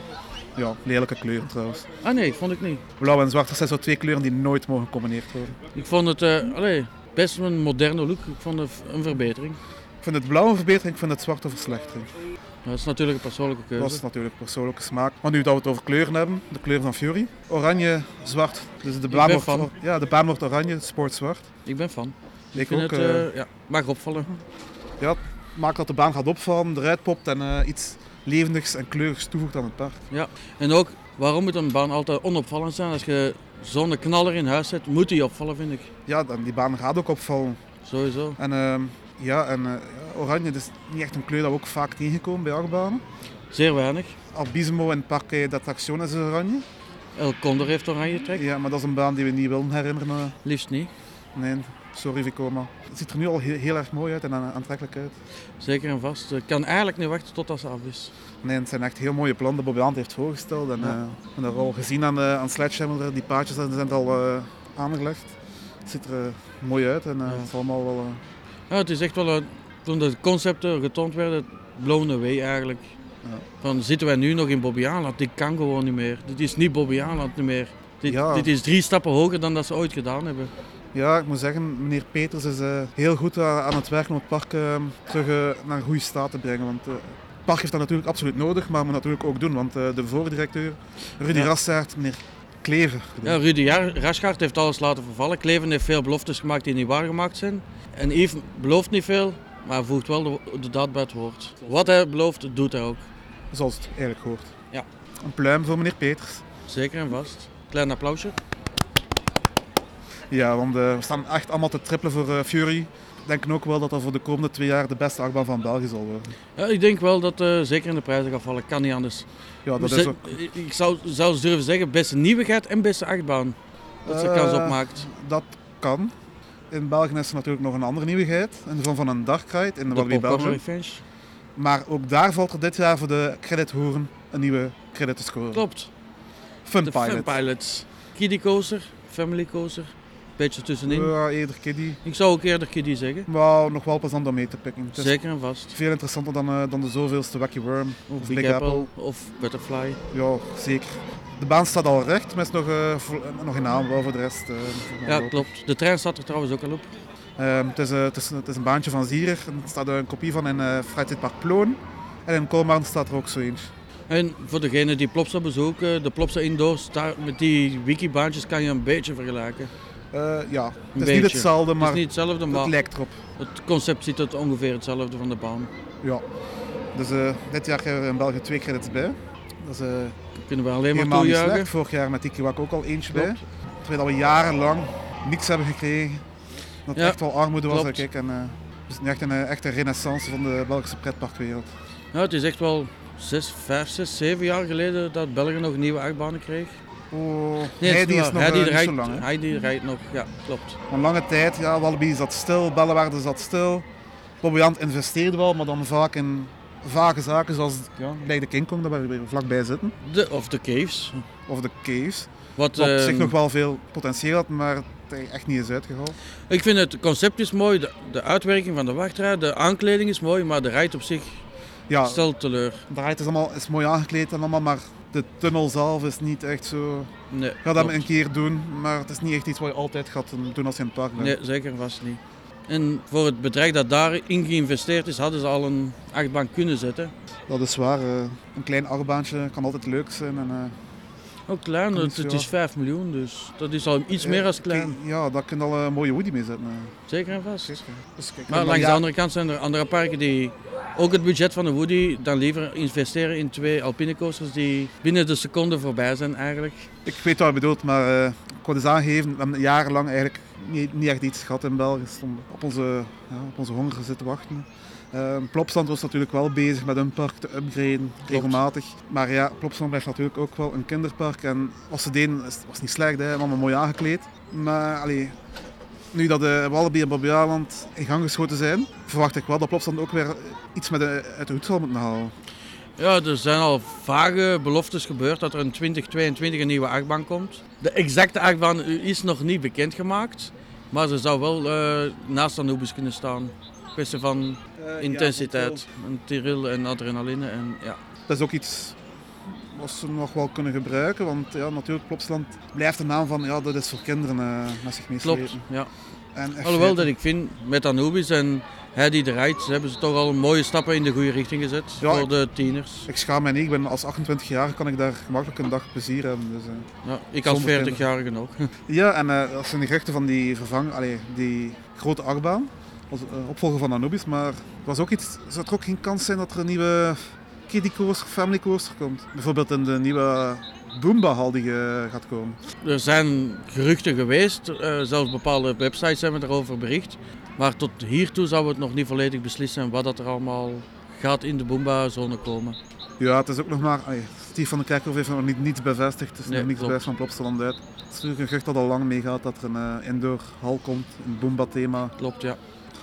Speaker 1: Ja, lelijke kleuren trouwens.
Speaker 2: Ah nee, vond ik niet.
Speaker 1: Blauw en zwart, dat zijn zo twee kleuren die nooit mogen gecombineerd worden.
Speaker 2: Ik vond het eh, allee, best een moderne look. Ik vond het een verbetering.
Speaker 1: Ik vind het blauw een verbetering, ik vind het zwart een verslechtering.
Speaker 2: Dat is natuurlijk een persoonlijke keuze.
Speaker 1: Dat is natuurlijk persoonlijke smaak. Maar nu dat we het over kleuren hebben, de kleuren van Fury. Oranje, zwart. Dus de baan,
Speaker 2: ben
Speaker 1: wordt,
Speaker 2: fan.
Speaker 1: or- ja, de baan wordt oranje, sportzwart.
Speaker 2: Ik ben fan.
Speaker 1: Ik,
Speaker 2: Ik vind
Speaker 1: ook.
Speaker 2: het,
Speaker 1: eh,
Speaker 2: eh, ja, mag opvallen.
Speaker 1: maakt dat de baan gaat opvallen, eruit popt en eh, iets levendigs en kleurigs toevoegt aan het park.
Speaker 2: En ook, waarom moet een baan altijd onopvallend zijn? Als je zo'n knaller in huis zet, moet die opvallen, vind ik.
Speaker 1: Ja, dan, die baan gaat ook opvallen.
Speaker 2: Sowieso.
Speaker 1: En ehm, ja, en eh, ja, oranje dat is niet echt een kleur dat we ook vaak tegenkomen bij achtbanen.
Speaker 2: Zeer weinig.
Speaker 1: Albismo en Parque d'Attraction is oranje.
Speaker 2: El Condor heeft oranje trek.
Speaker 1: Ja, maar dat is een baan die we niet willen herinneren. eh.
Speaker 2: Liefst niet.
Speaker 1: Nee, sorry Vicoma. Het ziet er nu al heel, heel erg mooi uit en aan- aantrekkelijk uit.
Speaker 2: Zeker en vast. Ik kan eigenlijk niet wachten totdat ze af is.
Speaker 1: Nee, het zijn echt heel mooie plannen die Bobby Hand heeft voorgesteld. En,
Speaker 2: Ja.
Speaker 1: eh, we hebben dat al gezien aan, de, aan Sledgehammer, die paadjes dat zijn al eh, aangelegd. Het ziet er eh, mooi uit en eh,
Speaker 2: Ja.
Speaker 1: het is allemaal wel... eh,
Speaker 2: Ja, het is echt wel, een- toen de concepten getoond werden, blown away eigenlijk.
Speaker 1: Ja.
Speaker 2: Van zitten wij nu nog in Bobbejaanland? Dit kan gewoon niet meer. Dit is niet Bobbejaanland niet meer. Dit,
Speaker 1: Ja.
Speaker 2: dit is drie stappen hoger dan dat ze ooit gedaan hebben.
Speaker 1: Ja, ik moet zeggen, meneer Peters is eh, heel goed aan aan het werken om het park eh, terug eh, naar een goede staat te brengen. Want eh, het park heeft dat natuurlijk absoluut nodig, maar moet natuurlijk ook doen. Want eh, de voordirecteur, Rudy
Speaker 2: Ja.
Speaker 1: Rassaert, meneer Klever.
Speaker 2: Ja, Rudy Jar- Raschard heeft alles laten vervallen. Kleven heeft veel beloftes gemaakt die niet waargemaakt zijn. En Yves belooft niet veel, maar voegt wel de, de daad bij het woord. Wat hij belooft, doet hij ook.
Speaker 1: Zoals het eigenlijk hoort.
Speaker 2: Ja.
Speaker 1: Een pluim voor meneer Peters.
Speaker 2: Zeker en vast. Klein applausje.
Speaker 1: Ja, want eh, we staan echt allemaal te trippelen voor eh, Fury. We denken ook wel dat dat voor de komende twee jaar de beste achtbaan van België zal worden.
Speaker 2: Ja, ik denk wel dat eh, zeker in de prijzen gaat vallen. Kan niet anders.
Speaker 1: Ja, dat
Speaker 2: Ze-
Speaker 1: is ook.
Speaker 2: Ik zou zelfs durven zeggen, beste nieuwigheid en beste achtbaan. Dat ze
Speaker 1: Eh,
Speaker 2: kans op maakt.
Speaker 1: Dat kan. In België is er natuurlijk nog een andere nieuwigheid. In de vorm van een dark ride in de
Speaker 2: De
Speaker 1: Walibi
Speaker 2: popcorn
Speaker 1: Belgium.
Speaker 2: revenge.
Speaker 1: Maar ook daar valt er dit jaar voor de credithoeren een nieuwe credit te scoren.
Speaker 2: Klopt.
Speaker 1: Fun
Speaker 2: De
Speaker 1: Pilot.
Speaker 2: Fun Pilots. Kiddie Coaster, Family Coaster. Beetje tussenin.
Speaker 1: Ja, eerder kiddie.
Speaker 2: Ik zou ook eerder Kiddie zeggen.
Speaker 1: Maar nog wel plezant om mee te pikken. Het is
Speaker 2: Zeker en vast.
Speaker 1: veel interessanter dan, eh, dan de zoveelste Wacky Worm.
Speaker 2: Of
Speaker 1: Big
Speaker 2: Big, Apple, of Butterfly.
Speaker 1: Ja, zeker. De baan staat al recht, maar is nog, eh, vo- eh, nog in aanbouw voor de rest. eh, nog
Speaker 2: Ja,
Speaker 1: lopen.
Speaker 2: klopt. De trein staat er trouwens ook al op.
Speaker 1: Ehm, het, is, eh, het, is, het is een baantje van Zierer. En Er staat een kopie van in eh Freizeitpark Ploon. En in Kolmaren staat er ook zo eentje.
Speaker 2: En voor degenen die Plopsa bezoeken, de Plopsa Indoors, daar, met die wikibaantjes kan je een beetje vergelijken.
Speaker 1: Eh, ja, het is
Speaker 2: beetje.
Speaker 1: niet hetzelfde,
Speaker 2: Het
Speaker 1: maar
Speaker 2: is niet hetzelfde, maar
Speaker 1: het lijkt erop.
Speaker 2: het concept ziet het ongeveer hetzelfde van de baan.
Speaker 1: Ja. Dus eh, dit jaar hebben we in België twee credits bij. Dat is eh,
Speaker 2: Kunnen we alleen maar
Speaker 1: helemaal niet
Speaker 2: toejuichen.
Speaker 1: slecht. Vorig jaar met Tikiwak ook al eentje bij.
Speaker 2: Klopt.
Speaker 1: Terwijl we jarenlang niks hebben gekregen. Dat het
Speaker 2: Ja,
Speaker 1: echt wel armoede was,
Speaker 2: klopt.
Speaker 1: denk ik. En, eh, het is nu echt een eh, echte renaissance van de Belgische pretparkwereld.
Speaker 2: Ja, het is echt wel zes, vijf, zes, zeven jaar geleden dat België nog nieuwe achtbanen kreeg.
Speaker 1: Oh,
Speaker 2: het
Speaker 1: Heidi is
Speaker 2: waar.
Speaker 1: nog eh,
Speaker 2: Heidi
Speaker 1: niet
Speaker 2: rijdt,
Speaker 1: zo lang. hè.
Speaker 2: Heidi rijdt nog, ja, klopt.
Speaker 1: Een lange tijd, ja, Walibi zat stil, Bellewaarde zat stil. Bobbejaand investeerde wel, maar dan vaak in vage zaken zoals ja, bij de King Kong, daar waar we vlakbij zitten.
Speaker 2: De, of de Caves.
Speaker 1: Of de caves.
Speaker 2: Wat,
Speaker 1: Wat op zich
Speaker 2: ehm,
Speaker 1: nog wel veel potentieel had, maar het er echt niet is uitgehaald.
Speaker 2: Ik vind het concept is mooi, de, de uitwerking van de wachtrij, de aankleding is mooi, maar de rijd op zich
Speaker 1: Ja,
Speaker 2: stelt teleur.
Speaker 1: de ride is, allemaal, is mooi aangekleed en allemaal, maar de tunnel zelf is niet echt zo...
Speaker 2: Nee,
Speaker 1: Ik ga dat
Speaker 2: klopt.
Speaker 1: een keer doen, maar het is niet echt iets wat je altijd gaat doen als je in het park bent.
Speaker 2: Nee, zeker en vast niet. En voor het bedrag dat daarin geïnvesteerd is, hadden ze al een achtbaan kunnen zetten.
Speaker 1: Dat is waar. eh, een klein armbaantje kan altijd leuk zijn. En, eh,
Speaker 2: Ook klein,
Speaker 1: Kan
Speaker 2: het,
Speaker 1: niet
Speaker 2: het
Speaker 1: zo.
Speaker 2: is 5 miljoen, dus dat is al iets
Speaker 1: eh,
Speaker 2: meer als klein.
Speaker 1: kijk, Ja, daar kun je al een mooie woody mee zetten. eh.
Speaker 2: Zeker en vast.
Speaker 1: Dus kijk,
Speaker 2: Maar
Speaker 1: dan-
Speaker 2: langs de
Speaker 1: ja,
Speaker 2: andere kant zijn er andere parken die ook het budget van de Woody dan liever investeren in twee alpine coasters die binnen de seconde voorbij zijn eigenlijk.
Speaker 1: Ik weet wat je bedoelt, maar eh, ik wil dus aangeven, we hebben jarenlang eigenlijk niet, niet echt iets gehad in België. We stonden op onze, ja, op onze honger zitten wachten. Eh, Plopstand was natuurlijk wel bezig met hun park te upgraden, regelmatig. Maar ja, Plopstand blijft natuurlijk ook wel een kinderpark. En wat ze deden is- was niet slecht, hè. allemaal mooi aangekleed. Maar allee, nu dat eh, de Wallaby en Bobbejaanland in gang geschoten zijn, verwacht ik wel dat Plopstand ook weer iets met de, uit de hoed zal moeten halen.
Speaker 2: Ja, er zijn al vage beloftes gebeurd dat er in 2022 een nieuwe achtbaan komt. De exacte achtbaan is nog niet bekendgemaakt, maar ze zou wel eh, naast Anubis kunnen staan. Kwestie van intensiteit, en tiril en adrenaline en ja.
Speaker 1: Dat is ook iets wat ze nog wel kunnen gebruiken, want ja, natuurlijk, Plopsland blijft de naam van, ja, dat is voor kinderen eh met zich meeslepen.
Speaker 2: Klopt, ja.
Speaker 1: En in
Speaker 2: Alhoewel dat
Speaker 1: feite-
Speaker 2: ik vind, met Anubis en Heidi de Rijt hebben ze toch al mooie stappen in de goede richting gezet
Speaker 1: Ja,
Speaker 2: voor
Speaker 1: ik-
Speaker 2: de tieners.
Speaker 1: Ik schaam mij niet, ik ben als 28 jaar kan ik daar gemakkelijk een dag plezier hebben. Dus, eh.
Speaker 2: Ja, ik als
Speaker 1: Zonder
Speaker 2: 40-jarige nog.
Speaker 1: Ja, en eh dat zijn de geruchten van die vervang, allee, die grote achtbaan, als eh, opvolger van Anubis, maar er was ook iets, zou er ook geen kans zijn dat er een nieuwe kiddie coaster, family coaster komt? Bijvoorbeeld in de nieuwe Boomba hal die eh, gaat komen.
Speaker 2: Er zijn geruchten geweest, eh, zelfs bepaalde websites hebben daarover bericht. Maar tot hiertoe zouden we het nog niet volledig beslissen wat dat er allemaal gaat in de Boomba-zone komen.
Speaker 1: Ja, het is ook nog maar. Allee, Steve van de Kerkhoff heeft nog niet, niets bevestigd. Het is
Speaker 2: Nee,
Speaker 1: nog niets
Speaker 2: klopt.
Speaker 1: bevestigd van Plopsaland uit. Het is natuurlijk een gerucht dat al lang meegaat dat er een eh, indoor hal komt, een Boomba-thema.
Speaker 2: Klopt, ja.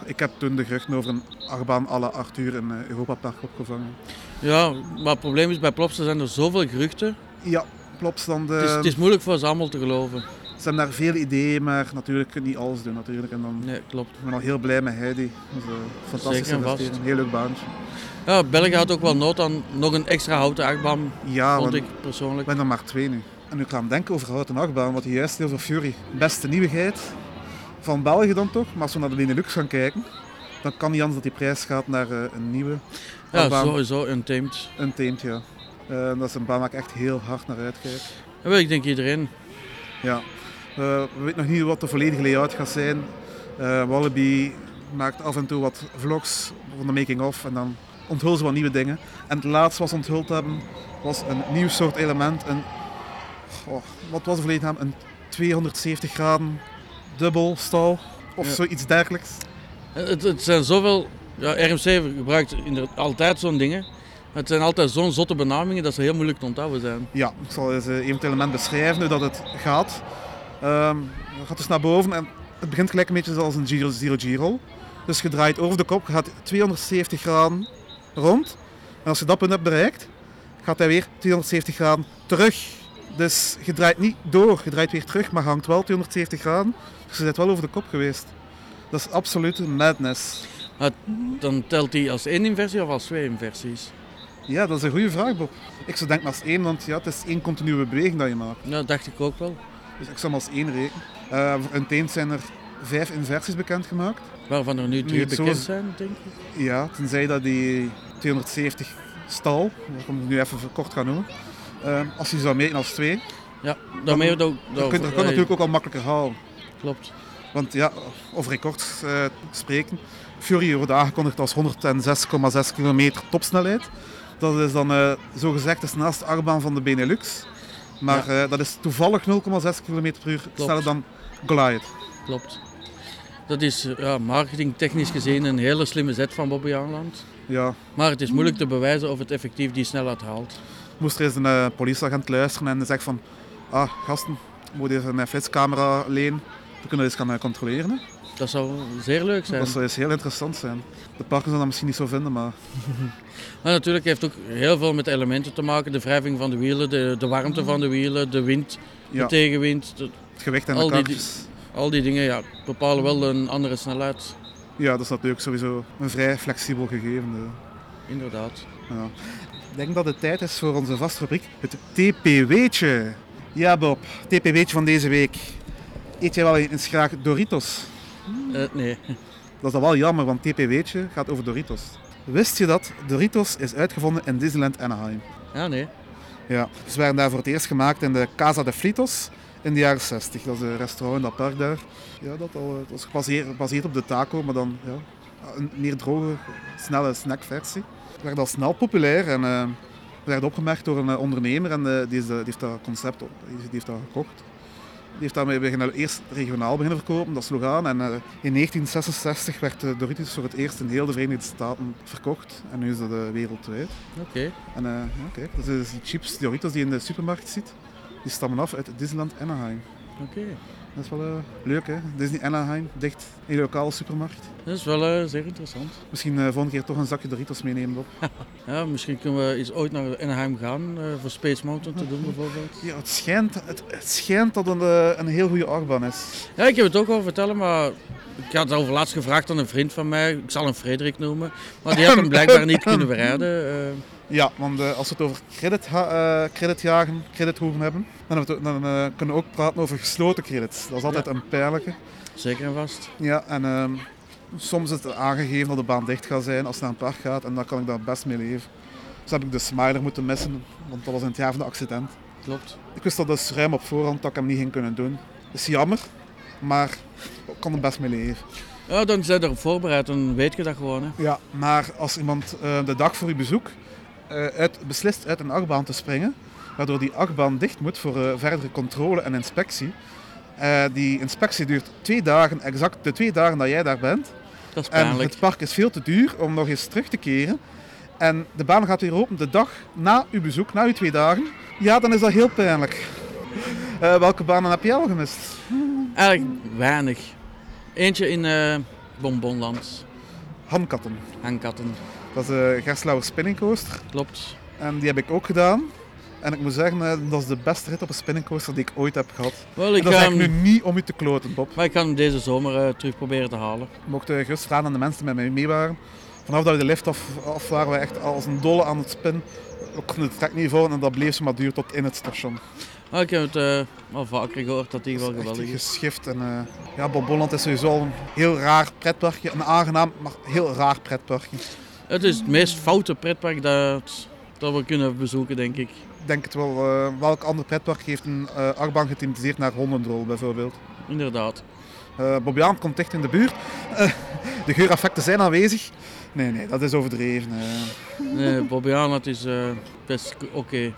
Speaker 1: Ik heb toen de geruchten over een achtbaan à la Arthur in eh, Europa Park opgevangen.
Speaker 2: Ja, maar het probleem is, bij Plopsa zijn er zoveel geruchten.
Speaker 1: Ja, Plopsaland. eh,
Speaker 2: Het is, het is moeilijk voor ze allemaal te geloven.
Speaker 1: Ze hebben daar veel ideeën, maar natuurlijk kun je niet alles doen. Natuurlijk. En dan,
Speaker 2: Nee, klopt.
Speaker 1: ik ben al heel blij met Heidi. Dus, eh, fantastische
Speaker 2: Zeker en vast.
Speaker 1: investering. Een heel leuk baantje.
Speaker 2: Ja, België had ook wel nood aan nog een extra houten achtbaan,
Speaker 1: Ja,
Speaker 2: vond
Speaker 1: we-
Speaker 2: ik persoonlijk.
Speaker 1: Ik ben er maar twee nu. En ik ga aan denken over Houten Achtbaan, wat hij juist heel veel Fury. Beste nieuwigheid van België dan toch. Maar als we naar de Benelux gaan kijken, dan kan niet anders dat die prijs gaat naar eh, een nieuwe
Speaker 2: Ja,
Speaker 1: achtbaan.
Speaker 2: sowieso untamed.
Speaker 1: Een teemt, ja. Eh, dat is een baan waar ik echt heel hard naar uitkijk.
Speaker 2: Dat wil ik denk iedereen.
Speaker 1: Ja. Eh, we weten nog niet wat de volledige layout gaat zijn. Eh, Wallaby maakt af en toe wat vlogs van de making-of en dan onthullen ze wat nieuwe dingen. En het laatste wat ze onthuld hebben was een nieuw soort element. Een, goh, wat was de volledige naam? Een 270 graden dubbel stal of
Speaker 2: Ja.
Speaker 1: zoiets dergelijks.
Speaker 2: Eh, Het, het zijn zoveel... Ja, RMC gebruikt inderdaad altijd zo'n dingen. Het zijn altijd zo'n zotte benamingen dat ze heel moeilijk te onthouden zijn.
Speaker 1: Ja, ik zal eens eh, even het element beschrijven hoe dat het gaat. Ehm je gaat dus naar boven en het begint gelijk een beetje zoals een Giro Giro Giro. Dus je draait over de kop, je gaat 270 graden rond. En als je dat punt hebt bereikt, gaat hij weer 270 graden terug. Dus je draait niet door, je draait weer terug, maar je hangt wel 270 graden. Dus je bent wel over de kop geweest. Dat is absolute madness.
Speaker 2: Maar dan telt die als één inversie of als twee inversies?
Speaker 1: Ja, dat is een goede vraag, Bob. Ik zou denken als één, want ja, het is één continue beweging dat je maakt.
Speaker 2: Ja, dat dacht ik ook wel.
Speaker 1: Dus ik zal hem als één rekenen. Eh, voor een teent zijn er vijf inversies bekendgemaakt.
Speaker 2: Waarvan er nu
Speaker 1: Nu
Speaker 2: drie
Speaker 1: het zo
Speaker 2: bekend
Speaker 1: is-
Speaker 2: zijn, denk ik.
Speaker 1: Ja, tenzij dat die 270 stal, dat ik hem nu even kort ga noemen, eh, als je zou meten als twee,
Speaker 2: Ja, daarmee dat ook...
Speaker 1: dan kun je dat kan natuurlijk ook al makkelijker halen.
Speaker 2: Klopt.
Speaker 1: Want ja, over records eh, spreken. Fury wordt aangekondigd als 106,6 kilometer topsnelheid. Dat is dan eh zogezegd is naast de achtbaan van de Benelux. Maar eh, dat is toevallig 0,6 km per uur sneller dan Goliath.
Speaker 2: Klopt. Dat is eh, ja, marketingtechnisch gezien een hele slimme zet van Bobby Aanland.
Speaker 1: Ja,
Speaker 2: Maar het is moeilijk te bewijzen of het effectief die snelheid haalt.
Speaker 1: moest er eens een eh, politieagent luisteren en zegt van, ah gasten, ik moet even mijn flitscamera lenen. We kunnen dat eens gaan eh, controleren. Hè.
Speaker 2: Dat zou zeer leuk zijn.
Speaker 1: Dat eh, zou eens heel interessant zijn. De parken zullen dat misschien niet zo vinden, maar
Speaker 2: Maar natuurlijk heeft het ook heel veel met elementen te maken. De wrijving van de wielen, de, de warmte van de wielen, de wind,
Speaker 1: ja,
Speaker 2: de tegenwind. de-
Speaker 1: het gewicht en de
Speaker 2: al die-
Speaker 1: karretjes.
Speaker 2: al die dingen ja, bepalen wel een andere snelheid.
Speaker 1: Ja, dat is natuurlijk sowieso een vrij flexibel gegeven. eh.
Speaker 2: Inderdaad.
Speaker 1: Ja. Ik denk dat het tijd is voor onze vaste rubriek, het TPW'tje. Ja Bob, TPW'tje van deze week. Eet jij wel eens graag Doritos?
Speaker 2: Eh, nee.
Speaker 1: Dat is dan wel jammer, want TPW'tje gaat over Doritos. Wist je dat Doritos is uitgevonden in Disneyland Anaheim?
Speaker 2: Ja, nee.
Speaker 1: Ja, ze werden daar voor het eerst gemaakt in de Casa de Fritos in de jaren 60. Dat is een restaurant in dat park daar. Ja, dat, al, eh, dat is gebaseerd, gebaseerd op de taco, maar dan ja, een meer droge, snelle snackversie. Het werd al snel populair en eh, het werd opgemerkt door een eh, ondernemer en eh, die, is, eh, die heeft dat concept op, die heeft dat gekocht. Die heeft daarmee beginnen, eerst regionaal beginnen verkopen, dat sloeg aan. En eh, in 1966 werd eh, Doritos voor het eerst in heel de Verenigde Staten verkocht. En nu is dat eh, wereldwijd.
Speaker 2: Oké.
Speaker 1: En eh, ja, kijk, dat zijn dus die chips, die Doritos die je in de supermarkt ziet, die stammen af uit Disneyland Anaheim.
Speaker 2: Oké.
Speaker 1: Dat is wel eh, leuk hè, Disney Anaheim, dicht in je lokale supermarkt.
Speaker 2: Dat is wel eh, zeer interessant.
Speaker 1: Misschien eh volgende keer toch een zakje Doritos meenemen Bob.
Speaker 2: Ja, misschien kunnen we eens ooit naar Anaheim gaan eh, voor Space Mountain te doen bijvoorbeeld.
Speaker 1: Ja, het schijnt, het, het schijnt dat het eh, een heel goede achtbaan is.
Speaker 2: Ja, ik heb het ook al vertellen, maar ik had het over laatst gevraagd aan een vriend van mij. Ik zal hem Frederik noemen. Maar die had hem blijkbaar niet kunnen bereiden. eh.
Speaker 1: Ja, want eh, als we het over credit, ha- eh, creditjagen, credithoeven hebben, dan, hebben we het ook- dan eh, kunnen we ook praten over gesloten credits. Dat is altijd een pijnlijke.
Speaker 2: zeker en vast.
Speaker 1: Ja, en ehm, soms is het aangegeven dat de baan dicht gaat zijn als het naar een park gaat en dan kan ik daar best mee leven. Dus heb ik de Smiler moeten missen, want dat was in het jaar van de accident.
Speaker 2: Klopt.
Speaker 1: Ik wist dat dus ruim op voorhand dat ik hem niet ging kunnen doen. Is jammer, maar ik kan er best mee leven.
Speaker 2: Ja, dan zijn we erop voorbereid, dan weet je dat gewoon. Hè.
Speaker 1: Ja, maar als iemand eh, de dag voor uw bezoek eh, uit, beslist uit een achtbaan te springen, waardoor die achtbaan dicht moet voor eh, verdere controle en inspectie. eh, die inspectie duurt twee dagen, exact de twee dagen dat jij daar bent.
Speaker 2: Dat is
Speaker 1: En
Speaker 2: pijnlijk.
Speaker 1: het park is veel te duur om nog eens terug te keren. En de baan gaat weer open de dag na uw bezoek, na uw twee dagen. Ja, dan is dat heel pijnlijk. Eh, welke banen heb jij al gemist?
Speaker 2: Eigenlijk weinig. Eentje in eh, Bonbonland,
Speaker 1: Hamkatten.
Speaker 2: hangkatten.
Speaker 1: eh, Dat is de Gerslauer Spinning Coaster.
Speaker 2: Klopt.
Speaker 1: En die heb ik ook gedaan. En ik moet zeggen, eh, dat is de beste rit op een spinningcoaster die ik ooit heb gehad.
Speaker 2: Wel,
Speaker 1: En
Speaker 2: ik ehm,
Speaker 1: dat
Speaker 2: ga
Speaker 1: is
Speaker 2: hem,
Speaker 1: eigenlijk nu niet om u te kloten, Bob.
Speaker 2: maar ik ga hem deze zomer eh, terug proberen te halen.
Speaker 1: Mocht je gerust vragen aan de mensen die met mij mee waren. Vanaf dat we de lift af, af waren, we echt als een dolle aan het spinnen. Ook kon het trek niet volgen en dat bleef ze maar duur tot in het station.
Speaker 2: Ah, ik heb het eh, al vaker gehoord dat die wel
Speaker 1: Dat is echt
Speaker 2: geweldig is.
Speaker 1: geschift. En, eh, ja, Bob Holland is sowieso al een heel raar pretparkje. Een aangenaam, maar heel raar pretparkje.
Speaker 2: Het is het meest foute pretpark dat, dat we kunnen bezoeken, denk ik.
Speaker 1: Ik denk het wel. eh, welk ander pretpark heeft een eh achtbaan gethematiseerd naar hondendrol bijvoorbeeld?
Speaker 2: Inderdaad.
Speaker 1: Eh Bobjaan komt dicht in de buurt. Eh, de geureffecten zijn aanwezig. Nee, nee, dat is overdreven. eh.
Speaker 2: Nee, Bobbejaanland is eh, best k- oké,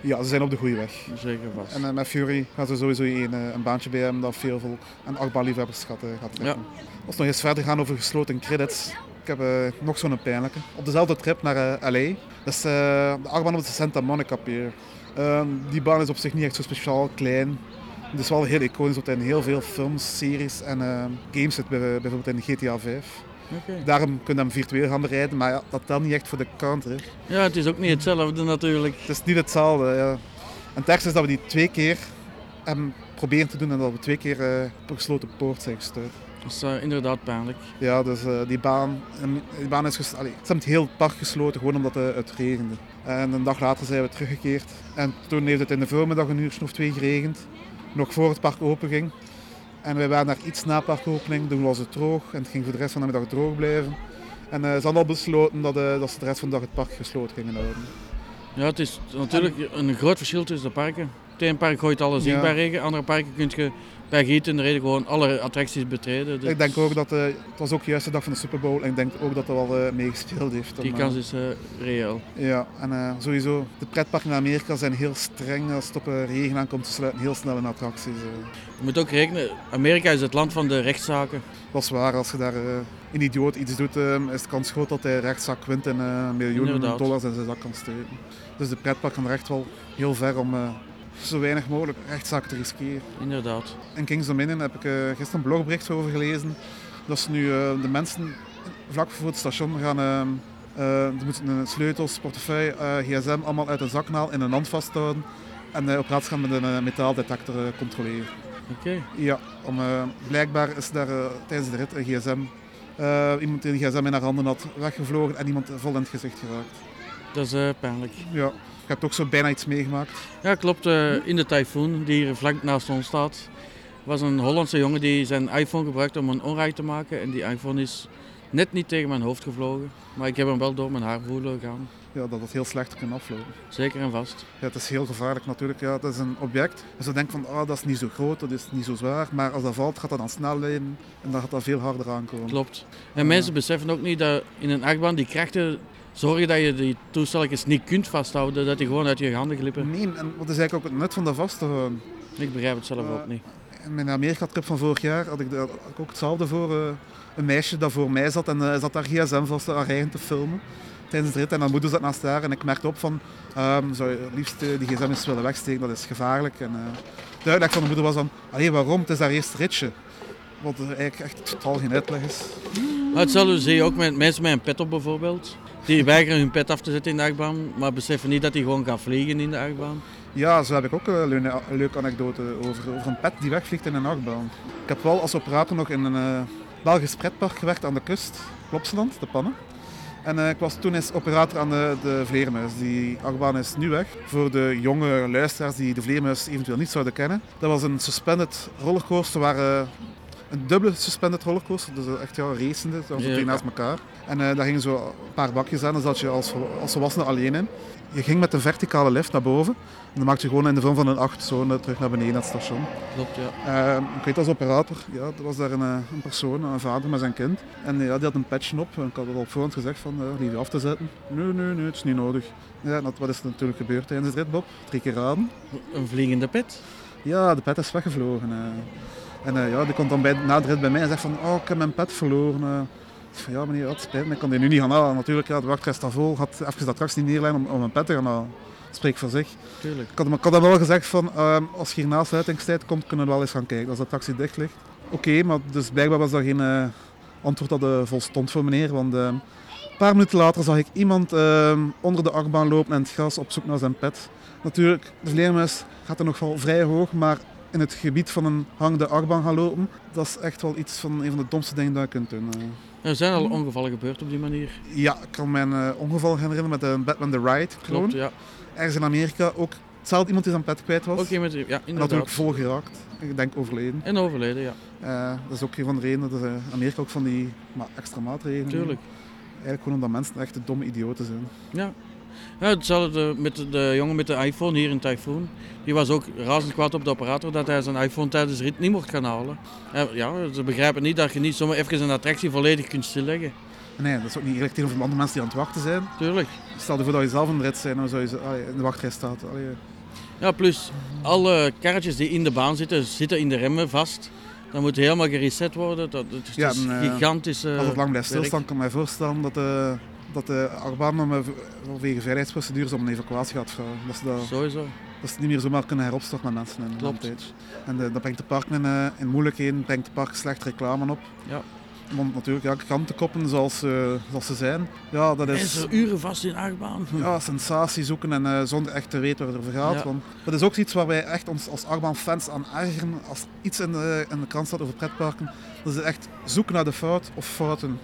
Speaker 1: ja, ze zijn op de goede weg.
Speaker 2: zeker vast.
Speaker 1: En eh, met Fury gaan ze sowieso een, eh, een baantje bij hebben dat veel vol en achtbaanliefhebbers gaat, eh, gaat trekken. Als we nog eens verder gaan over gesloten credits. Ik heb eh, nog zo'n pijnlijke. Op dezelfde trip naar eh, LA. Dat is eh, de achtbaan op de Santa Monica Pier. Ehm, die baan is op zich niet echt zo speciaal, klein. Het is wel heel iconisch, want in heel veel films, series en eh, games zit bij- bijvoorbeeld in GTA 5.
Speaker 2: Oké.
Speaker 1: Daarom kunnen we hem virtueel gaan bereiden, maar ja, dat telt niet echt voor de counter.
Speaker 2: Ja, het is ook niet hetzelfde natuurlijk.
Speaker 1: Het is niet hetzelfde. Ja. En het ergste is dat we die twee keer hebben proberen te doen en dat we twee keer eh, op een gesloten poort zijn gestuurd.
Speaker 2: Dat is eh, inderdaad pijnlijk.
Speaker 1: Ja, dus eh, die, baan, en die baan is gesloten. Ze hebben het heel park gesloten gewoon omdat eh, het regende. En een dag later zijn we teruggekeerd. En toen heeft het in de voormiddag een uurtje of twee geregend. Nog voor het park openging. En wij waren daar iets na parkopening. Toen was het droog en het ging voor de rest van de middag droog blijven. En eh, ze hadden al besloten dat, eh, dat ze de rest van de dag het park gesloten gingen houden.
Speaker 2: Ja, het is natuurlijk een groot verschil tussen de parken. Het ene park gooit alles in
Speaker 1: Ja.
Speaker 2: bij regen, andere parken kun je bij gieten in de reden gewoon alle attracties betreden. Dus
Speaker 1: Ik denk ook dat eh, het was ook juist de dag van de Super Bowl en ik denk ook dat dat wel eh, meegespeeld heeft.
Speaker 2: Die
Speaker 1: Om,
Speaker 2: kans
Speaker 1: eh,
Speaker 2: is eh, reëel.
Speaker 1: Ja, en eh, sowieso, de pretparken in Amerika zijn heel streng als het op eh, regen aankomt. Ze sluiten heel snel in attracties. eh.
Speaker 2: Je moet ook rekenen, Amerika is het land van de rechtszaken.
Speaker 1: Dat is waar, als je daar eh, een idioot iets doet, eh, is de kans groot dat hij rechtszaak wint en eh, miljoenen
Speaker 2: Inderdaad.
Speaker 1: dollars in zijn zak kan steken. Dus de pretpark kan er echt wel heel ver om eh, zo weinig mogelijk rechtszaken te riskeren.
Speaker 2: Inderdaad.
Speaker 1: In Kings Dominion heb ik eh, gisteren een blogbericht over gelezen. Dat ze nu eh, de mensen vlak voor het station gaan. ehm eh, ze moeten hun sleutels, portefeuille, eh, gsm allemaal uit een zaknaal in hun hand vasthouden. En eh, op plaats gaan met een eh, metaaldetector eh, controleren.
Speaker 2: Oké.
Speaker 1: Ja, om, eh, blijkbaar is daar eh, tijdens de rit een gsm. eh, iemand die een gsm in haar handen had weggevlogen en iemand vol in het gezicht geraakt.
Speaker 2: Dat is eh, pijnlijk.
Speaker 1: Ja, ik heb ook zo bijna iets meegemaakt.
Speaker 2: Ja, klopt. eh, in de tyfoon die hier vlak naast ons staat, was een Hollandse jongen die zijn iPhone gebruikte om een onrij te maken. En die iPhone is net niet tegen mijn hoofd gevlogen. Maar ik heb hem wel door mijn haar voelen gaan.
Speaker 1: Ja, dat het heel slecht kan aflopen.
Speaker 2: Zeker en vast.
Speaker 1: Ja, het is heel gevaarlijk natuurlijk. Ja, het is een object. En ze denken van, ah, dat is niet zo groot, dat is niet zo zwaar. Maar als dat valt, gaat dat dan snel leiden en dan gaat dat veel harder aankomen.
Speaker 2: Klopt.
Speaker 1: Ja.
Speaker 2: En mensen beseffen ook niet dat in een achtbaan die krachten zorgen dat je die toestelletjes niet kunt vasthouden. Dat die gewoon uit je handen glippen.
Speaker 1: Nee, en wat is eigenlijk ook het nut van dat vast te houden?
Speaker 2: Ik begrijp het zelf
Speaker 1: Ja.
Speaker 2: ook niet.
Speaker 1: In mijn Amerika-trip van vorig jaar had ik, de- had ik ook hetzelfde voor eh, een meisje dat voor mij zat en eh, zat daar gsm vast aan haar eigen te filmen tijdens de rit. En haar moeder zat naast haar en ik merkte op van, ehm, zou je liefst eh, die gsm eens willen wegsteken, dat is gevaarlijk. En eh, de uitleg van de moeder was dan, allee, waarom? Het is haar eerste ritje. Wat eh, eigenlijk echt totaal geen uitleg is.
Speaker 2: Maar hetzelfde zie je ook met mensen met een pet op bijvoorbeeld. Die weigeren hun pet af te zetten in de achtbaan, maar beseffen niet dat die gewoon gaan vliegen in de achtbaan.
Speaker 1: Ja, zo heb ik ook een leuke, een leuke anekdote over, over een pet die wegvliegt in een achtbaan. Ik heb wel als operator nog in een eh, Belgisch pretpark gewerkt aan de kust, Plopsaland, de Pannen. En eh, ik was toen eens operator aan de, de Vleermuis. Die achtbaan is nu weg. Voor de jonge luisteraars die de Vleermuis eventueel niet zouden kennen. Dat was een suspended rollercoaster waar... eh, een dubbele suspended rollercoaster, dus echt ja, racende, dat was
Speaker 2: Ja.
Speaker 1: twee naast elkaar. En eh, daar gingen zo een paar bakjes aan, dan zat je als, vol- als volwassene alleen in. Je ging met een verticale lift naar boven en dan maakte je gewoon in de vorm van een acht zone terug naar beneden naar het station.
Speaker 2: Klopt, ja.
Speaker 1: Eh, ik weet als operator, ja, er was daar een, eh, een persoon, een vader met zijn kind. En eh, ja, die had een petje op. En ik had het al op voorhand gezegd van, eh liever af te zetten. Nee, nee, nee, het is niet nodig. Ja, en dat, wat is er natuurlijk gebeurd tijdens de rit, Bob? Drie keer raden.
Speaker 2: Een vliegende pet.
Speaker 1: Ja, de pet is weggevlogen. eh. En eh, ja, die komt dan bij, na de rit bij mij en zegt van, oh, ik heb mijn pet verloren. eh. Ik zeg van, ja meneer, dat spijt me, ik kan die nu niet gaan halen. Natuurlijk, ja, de wachtrij staat vol. Had even de attractie niet neerleggen om, om mijn pet te gaan halen. Spreek voor zich.
Speaker 2: Tuurlijk.
Speaker 1: Ik had, hem- ik had hem wel gezegd van, ehm, als je hier na sluitingstijd komt, kunnen we wel eens gaan kijken als de taxi dicht ligt. Oké, maar dus blijkbaar was dat geen eh, antwoord dat eh, volstond voor meneer, want ehm, het paar minuten later zag ik iemand ehm, onder de achtbaan lopen en het gras op zoek naar zijn pet. Natuurlijk, de vleermuis gaat er nog wel vrij hoog, maar in het gebied van een hangende achtbaan gaan lopen, dat is echt wel iets van een van de domste dingen dat je kunt doen. eh.
Speaker 2: Er zijn al ongevallen gebeurd op die manier.
Speaker 1: Ja, ik kan mijn eh, ongeval herinneren met een Batman the Ride kloon.
Speaker 2: Klopt, ja.
Speaker 1: Ergens in Amerika ook hetzelfde iemand die zijn pet kwijt was.
Speaker 2: Ook iemand, die- ja,
Speaker 1: en natuurlijk
Speaker 2: inderdaad.
Speaker 1: volgeraakt. Ik denk overleden.
Speaker 2: En overleden, ja,
Speaker 1: Eh, dat is ook een van de redenen dat eh, Amerika ook van die maar extra maatregelen.
Speaker 2: tuurlijk.
Speaker 1: Eigenlijk gewoon omdat mensen echt de domme idioten zijn.
Speaker 2: Ja, hetzelfde met de, de jongen met de iPhone hier in Typhoon. Die was ook razend kwaad op de operator dat hij zijn iPhone tijdens de rit niet mocht gaan halen. Ja, Ja, ze begrijpen niet dat je niet zomaar even een attractie volledig kunt stilleggen.
Speaker 1: Nee, dat is ook niet eerlijk tegenover de andere mensen die aan het wachten zijn.
Speaker 2: Tuurlijk.
Speaker 1: Stel je voor dat je zelf in de rit zijn en dan zou je ze- allee, in de wachtrij staat. Allee, eh.
Speaker 2: Ja, plus alle karretjes die in de baan zitten, zitten in de remmen vast. Dat moet helemaal gereset worden. Dat, het is
Speaker 1: Ja,
Speaker 2: het is
Speaker 1: en, eh,
Speaker 2: gigantische...
Speaker 1: Als het lang blijft
Speaker 2: werk.
Speaker 1: stilstaan, kan ik me voorstellen dat de, dat de achtbaan dan met- vanwege veiligheidsprocedures om een evacuatie gaat vragen. Dat ze dat
Speaker 2: Sowieso.
Speaker 1: Dat ze het niet meer zomaar kunnen heropstarten met mensen in
Speaker 2: Klopt.
Speaker 1: een tijd. En eh, dat brengt de parken in, eh, in moeilijkheden, brengt de park slecht reclame op.
Speaker 2: Ja.
Speaker 1: Want natuurlijk, ja, krantenkoppen zoals, eh, zoals ze zijn, ja, dat is
Speaker 2: Mensen uren vast in achtbaan.
Speaker 1: Dus- ja, sensatie zoeken en eh, zonder echt te weten waar het over gaat.
Speaker 2: Ja.
Speaker 1: Want dat is ook iets waar wij echt ons als Arban-fans aan ergeren. Als er iets in de, in de krant staat over pretparken, dat is echt zoeken naar de fout of fouten.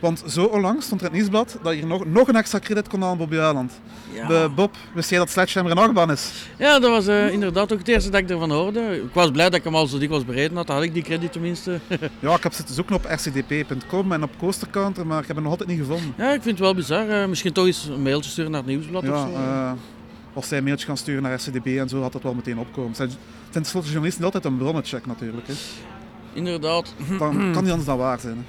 Speaker 1: Want zo onlangs stond er in het nieuwsblad dat je hier nog, nog een extra credit kon aan Bobby Aland.
Speaker 2: Ja.
Speaker 1: Bob, wist jij dat Sledgehammer een achtbaan is?
Speaker 2: Ja, dat was eh, inderdaad ook het eerste dat ik ervan hoorde. Ik was blij dat ik hem al zo dikwijls bereden had. Dan had ik die credit tenminste.
Speaker 1: Ja, ik heb zitten zoeken op rcdp.com en op coastercounter, maar ik heb hem nog altijd niet gevonden.
Speaker 2: Ja, ik vind het wel bizar. Eh, misschien toch eens een mailtje sturen naar het nieuwsblad of
Speaker 1: Ja,
Speaker 2: zo.
Speaker 1: eh, als zij een mailtje gaan sturen naar rcdp en zo, had dat wel meteen opkomen. Zijn, zijn tenslotte journalisten die altijd een bronnencheck natuurlijk. Hè.
Speaker 2: Inderdaad.
Speaker 1: Dan
Speaker 2: Mhm.
Speaker 1: kan die anders dan waar zijn.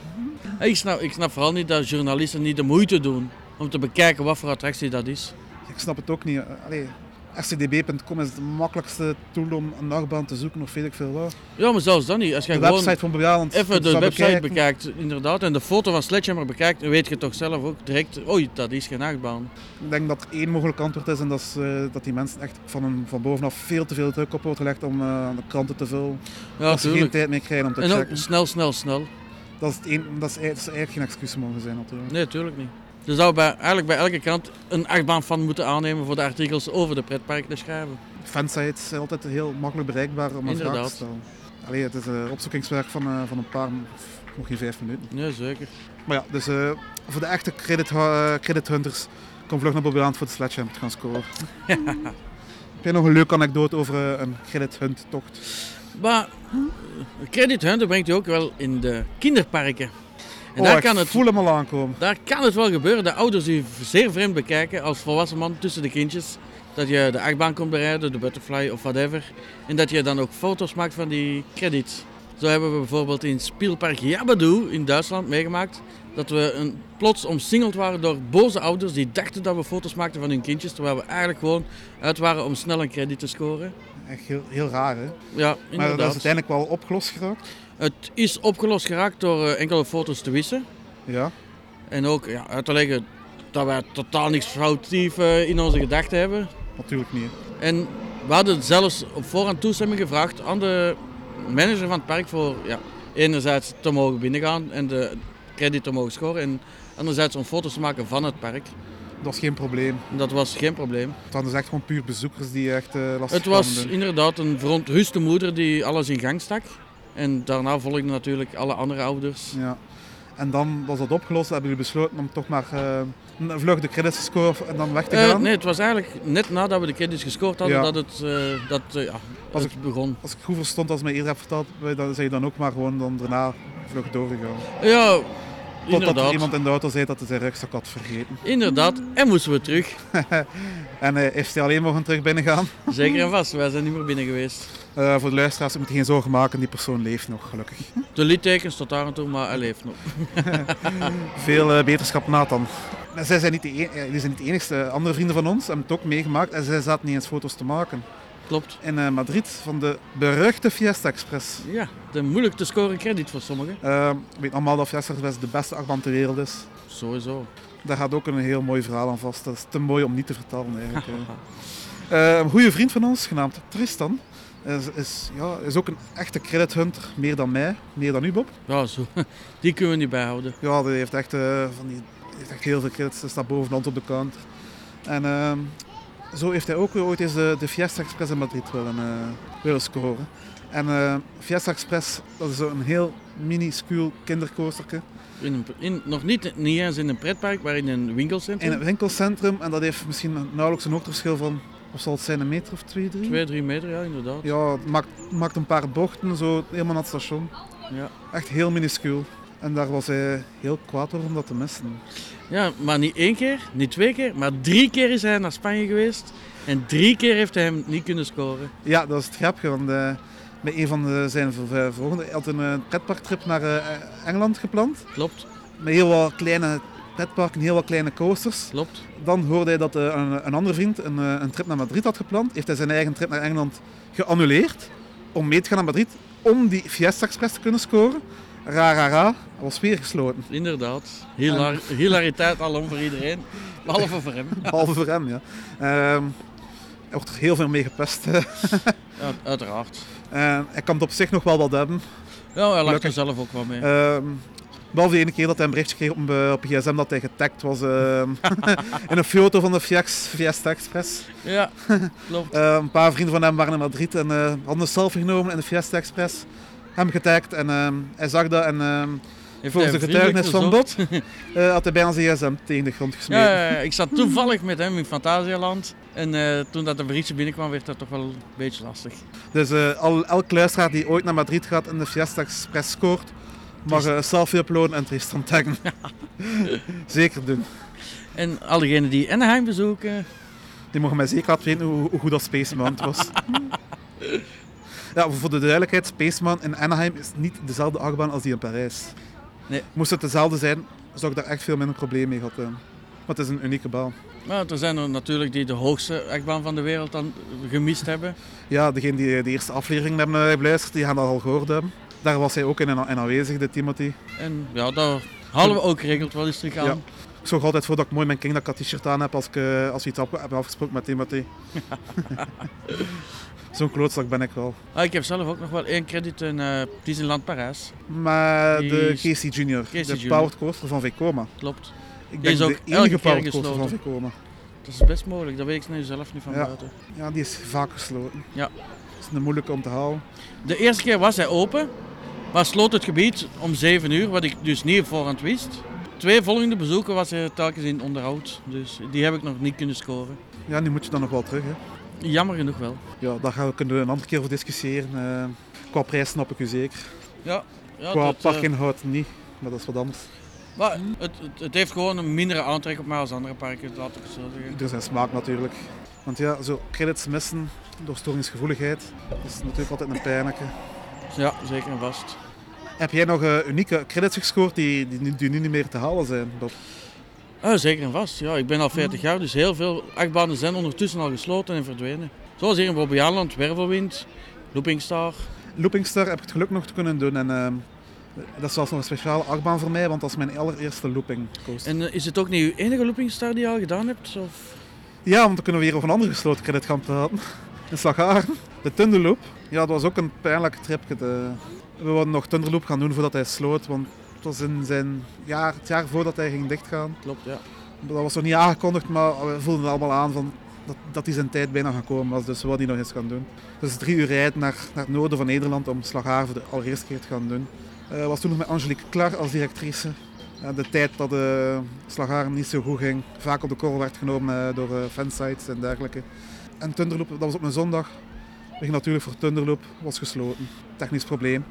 Speaker 1: hè.
Speaker 2: Eh, Ik snap, ik snap vooral niet dat journalisten niet de moeite doen om te bekijken wat voor attractie dat is.
Speaker 1: Ik snap het ook niet. eh, Allee, rcdb.com is de makkelijkste tool om een nachtbaan te zoeken of weet ik veel wat.
Speaker 2: Ja, maar zelfs dan niet. Als je
Speaker 1: De
Speaker 2: gewoon
Speaker 1: website van Bejaland.
Speaker 2: even de website bekijkt, inderdaad, en de foto van Sledgehammer bekijkt, dan weet je toch zelf ook direct, oei, dat is geen achtbaan.
Speaker 1: Ik denk dat er één mogelijk antwoord is en dat is eh, dat die mensen echt van, hun- van bovenaf veel te veel druk op wordt gelegd om eh, aan de kranten te vullen.
Speaker 2: Ja,
Speaker 1: dat ze geen
Speaker 2: tuurlijk.
Speaker 1: tijd meer krijgen om te
Speaker 2: En ook
Speaker 1: checken.
Speaker 2: snel, snel, snel.
Speaker 1: Dat is, het een, dat is, dat is eigenlijk geen excuus mogen zijn natuurlijk.
Speaker 2: Nee, tuurlijk niet. Je zou bij, eigenlijk bij elke krant een achtbaan van moeten aannemen voor de artikels over de pretpark te schrijven.
Speaker 1: Fansites zijn altijd heel makkelijk bereikbaar om een vraag
Speaker 2: Inderdaad.
Speaker 1: te stellen. Allee, het is een opzoekingswerk van, eh, van een paar, pff, nog geen vijf minuten.
Speaker 2: Nee, zeker.
Speaker 1: Maar ja, dus eh, voor de echte credit, eh, credit hunters, kom vlug naar Bobby Land voor de sledgehammer te gaan scoren. Heb jij nog een leuke anekdote over eh, een credit hunt tocht?
Speaker 2: Maar eh, Credit Hunter brengt u ook wel in de kinderparken. En
Speaker 1: oh,
Speaker 2: daar,
Speaker 1: ik
Speaker 2: kan het,
Speaker 1: voel hem al aankomen.
Speaker 2: daar kan het wel gebeuren dat ouders u zeer vreemd bekijken als volwassen man tussen de kindjes. Dat je de achtbaan komt bereiden, de butterfly of whatever. En dat je dan ook foto's maakt van die credits. Zo hebben we bijvoorbeeld in Spielpark Jabadoo in Duitsland meegemaakt. Dat we een, plots omsingeld waren door boze ouders die dachten dat we foto's maakten van hun kindjes. Terwijl we eigenlijk gewoon uit waren om snel een credit te scoren.
Speaker 1: Echt heel, heel raar, hè?
Speaker 2: Ja,
Speaker 1: Maar
Speaker 2: inderdaad.
Speaker 1: dat is uiteindelijk wel opgelost geraakt.
Speaker 2: Het is opgelost geraakt door eh, enkele foto's te wissen.
Speaker 1: Ja.
Speaker 2: En ook ja, uit te leggen dat wij totaal niks foutief eh, in onze gedachten hebben.
Speaker 1: Natuurlijk niet.
Speaker 2: En we hadden zelfs op voorhand toestemming gevraagd aan de manager van het park voor ja, enerzijds te mogen binnengaan en de credit te mogen scoren. En anderzijds om foto's te maken van het park.
Speaker 1: Dat was geen probleem.
Speaker 2: En dat was geen probleem.
Speaker 1: Het waren dus echt gewoon puur bezoekers die echt eh lastig
Speaker 2: Het was
Speaker 1: kwamen doen.
Speaker 2: inderdaad een verontruste moeder die alles in gang stak. En daarna volgden natuurlijk alle andere ouders.
Speaker 1: Ja. En dan was dat opgelost, hebben jullie besloten om toch maar eh, een vlug de credits te scoren en dan weg te
Speaker 2: Eh,
Speaker 1: gaan.
Speaker 2: nee, het was eigenlijk net nadat we de credits gescoord hadden
Speaker 1: Ja.
Speaker 2: dat het, eh, dat, eh, ja,
Speaker 1: Als
Speaker 2: het begon.
Speaker 1: Als ik goed verstond, als je mij eerder hebt verteld, wij- dan zijn je dan ook maar gewoon dan daarna vlug doorgegaan.
Speaker 2: Ja,
Speaker 1: Totdat er
Speaker 2: inderdaad.
Speaker 1: iemand in de auto zei dat hij zijn rugzak had vergeten.
Speaker 2: Inderdaad, en moesten we terug.
Speaker 1: En eh, heeft hij alleen mogen terug binnengaan.
Speaker 2: Zeker en vast, wij zijn niet meer binnen geweest.
Speaker 1: Eh, voor de luisteraars, je moet je geen zorgen maken, die persoon leeft nog, gelukkig.
Speaker 2: De littekens tot daar en toe, maar hij leeft nog.
Speaker 1: Veel eh, beterschap Nathan. En zij zijn niet de, e- eh, jullie zijn niet de enigste. Andere vrienden van ons hebben het ook meegemaakt en zij zaten niet eens foto's te maken.
Speaker 2: Klopt.
Speaker 1: In eh, Madrid van de beruchte Fiesta Express.
Speaker 2: Ja, de moeilijk te scoren credit voor sommigen.
Speaker 1: Ehm, Ik weet allemaal dat Fiesta Express de beste achtbaan ter wereld is.
Speaker 2: Sowieso.
Speaker 1: Daar gaat ook een heel mooi verhaal aan vast. Dat is te mooi om niet te vertellen eigenlijk. Eh, een goede vriend van ons, genaamd Tristan, is, is, ja, is ook een echte credit hunter. Meer dan mij, meer dan u Bob.
Speaker 2: Ja, zo. Die kunnen we niet bijhouden.
Speaker 1: Ja, die heeft echt eh, van die heeft echt heel veel kids. Ze staat bovenland op de counter. En ehm, zo heeft hij ook weer ooit eens de, de Fiesta Express in Madrid willen, eh, willen scoren. En eh, Fiesta Express, dat is zo'n heel minuscuul kindercoasterke
Speaker 2: In een, in, nog niet, niet eens in een pretpark, maar in een
Speaker 1: in
Speaker 2: winkelcentrum.
Speaker 1: het winkelcentrum. En dat heeft misschien nauwelijks een hoogteverschil van, of zal het zijn, een meter of twee, drie?
Speaker 2: Twee, drie meter, ja, inderdaad.
Speaker 1: Ja, het maakt, maakt een paar bochten, zo helemaal naar het station.
Speaker 2: Ja.
Speaker 1: Echt heel minuscuul. En daar was hij heel kwaad over om dat te missen.
Speaker 2: Ja, maar niet één keer, niet twee keer, maar drie keer is hij naar Spanje geweest. En drie keer heeft hij hem niet kunnen scoren.
Speaker 1: Ja, dat is het grapje, want eh, bij een van de, zijn ver- ver- volgende, hij had een eh, pretparktrip naar eh, Engeland gepland.
Speaker 2: Klopt,
Speaker 1: Met heel wat kleine pretparken, heel wat kleine coasters.
Speaker 2: klopt.
Speaker 1: Dan hoorde hij dat eh, een, een andere vriend een, eh, een trip naar Madrid had gepland. Heeft hij zijn eigen trip naar Engeland geannuleerd om mee te gaan naar Madrid. Om die Fiesta Express te kunnen scoren. Ra, ra, ra. Hij was weer gesloten.
Speaker 2: Inderdaad. Hilar Hilariteit alom voor iedereen, behalve voor hem.
Speaker 1: Behalve voor hem, ja. Ehm, hij wordt er heel veel mee gepest. eh.
Speaker 2: Ja, uiteraard.
Speaker 1: En hij kan het op zich nog wel wat hebben.
Speaker 2: Ja, hij lacht er
Speaker 1: Gelukkig.
Speaker 2: zelf ook wel mee.
Speaker 1: Ehm behalve de ene keer dat hij een berichtje kreeg op, eh, op gsm dat hij getagd was ehm, in een foto van de Fiesta Fiesta Express.
Speaker 2: Ja, klopt.
Speaker 1: Eh, een paar vrienden van hem waren in Madrid en eh, hadden een selfie genomen in de Fiesta Express. Hem getagd en ehm, hij zag dat en ehm,
Speaker 2: Heeft
Speaker 1: volgens de
Speaker 2: hij
Speaker 1: getuigenis van
Speaker 2: vriendelijk
Speaker 1: Bot eh, had hij bijna zijn gsm tegen de grond gesmeten.
Speaker 2: Ja, ja, ja. ik zat toevallig met hem in Fantasialand. En eh, toen dat de berichtje binnenkwam, werd dat toch wel een beetje lastig.
Speaker 1: Dus eh, al, elk luisteraar die ooit naar Madrid gaat en de Fiesta Express scoort,
Speaker 2: Dus-
Speaker 1: mag eh, een selfie uploaden en Tristan taggen. Zeker doen.
Speaker 2: En al diegenen die Anaheim bezoeken,
Speaker 1: Die mogen mij zeker laten weten hoe, hoe goed dat Space Mountain was. ja, voor de duidelijkheid, Space Mountain in Anaheim is niet dezelfde achtbaan als die in Parijs.
Speaker 2: Nee.
Speaker 1: Moest het dezelfde zijn, zou ik daar echt veel minder probleem mee gehad hebben. Want het is een unieke baan.
Speaker 2: nou, er zijn er natuurlijk die de hoogste achtbaan van de wereld dan gemist hebben.
Speaker 1: Ja, degene die de eerste aflevering hebben eh, beluisterd, die gaan dat al gehoord hebben. Daar was hij ook in, aan- in aanwezig, de Timothy.
Speaker 2: En ja, daar hadden we ook geregeld wel eens terug aan.
Speaker 1: Ja. Ik zorg altijd voor dat ik mooi mijn King dat ik dat t-shirt aan heb als, ik, eh, als we iets afge- hebben afgesproken met Timothy. Zo'n klootzak ben ik wel.
Speaker 2: Ah, ik heb zelf ook nog wel één credit in eh, Disneyland Parijs.
Speaker 1: Maar
Speaker 2: Die
Speaker 1: de
Speaker 2: is-
Speaker 1: Casey Junior,
Speaker 2: Casey
Speaker 1: de
Speaker 2: Jr..
Speaker 1: powered coaster van Vekoma.
Speaker 2: Klopt.
Speaker 1: Ik
Speaker 2: Die
Speaker 1: denk
Speaker 2: is
Speaker 1: de
Speaker 2: ook elke
Speaker 1: enige
Speaker 2: keer
Speaker 1: powered coaster van
Speaker 2: gesloten.
Speaker 1: Vekoma.
Speaker 2: Dat is best mogelijk, dat weet ik nu zelf niet van
Speaker 1: Ja.
Speaker 2: buiten.
Speaker 1: Ja, die is vaak gesloten.
Speaker 2: Ja.
Speaker 1: Dat is een moeilijke om te houden.
Speaker 2: De eerste keer was hij open, maar sloot het gebied om 7 uur, wat ik dus niet op voorhand wist. Twee volgende bezoeken was hij telkens in onderhoud, dus die heb ik nog niet kunnen scoren.
Speaker 1: Ja, nu moet je dan nog wel terug. Hè.
Speaker 2: Jammer genoeg wel.
Speaker 1: Ja, daar gaan we, kunnen we een andere keer over discussiëren. Eh, qua prijs snap ik u zeker.
Speaker 2: Ja, ja
Speaker 1: Qua
Speaker 2: dat, eh,
Speaker 1: parkinhoud niet, maar dat is wat anders.
Speaker 2: maar het, het, het heeft gewoon een mindere aantrek op mij als andere parken, laat ik het zo zeggen.
Speaker 1: Ieder zijn smaak natuurlijk. Want ja, zo credits missen door storingsgevoeligheid is natuurlijk altijd een pijnlijke.
Speaker 2: Ja, zeker en vast.
Speaker 1: Heb jij nog eh, unieke credits gescoord die, die, nu- die nu niet meer te halen zijn? Bob?
Speaker 2: Ah, zeker en vast. Ja, ik ben al
Speaker 1: Mm.
Speaker 2: 40 jaar, dus heel veel achtbanen zijn ondertussen al gesloten en verdwenen. Zoals hier in Bobbejaanland, Wervelwind, Looping Star.
Speaker 1: Looping Star heb ik het geluk nog te kunnen doen. En ehm, dat is zelfs nog een speciale achtbaan voor mij, want dat is mijn allereerste looping coaster.
Speaker 2: En eh, is het ook niet uw enige Looping Star die je al gedaan hebt? Of?
Speaker 1: Ja, want dan kunnen we weer over een andere gesloten credit gaan praten. In Slagharen. De Tunderloop. Ja, dat was ook een pijnlijk tripje. De- We wilden nog Tunderloop gaan doen voordat hij sloot, want het was in zijn jaar, het jaar voordat hij ging dichtgaan.
Speaker 2: Klopt, ja.
Speaker 1: Dat was nog niet aangekondigd, maar we voelden allemaal aan van dat, dat hij zijn tijd bijna gekomen was, dus we wilden die nog eens gaan doen. Dus drie uur rijden naar, naar het noorden van Nederland om Slagharen voor de allereerste keer te gaan doen. Eh was toen nog met Angelique Klar als directrice. Ja, de tijd dat de Slagharen niet zo goed ging, vaak op de korrel werd genomen eh, door eh, fansites en dergelijke. En Tunderloop, dat was op een zondag. We gingen natuurlijk voor Tunderloop, was gesloten. Technisch probleem.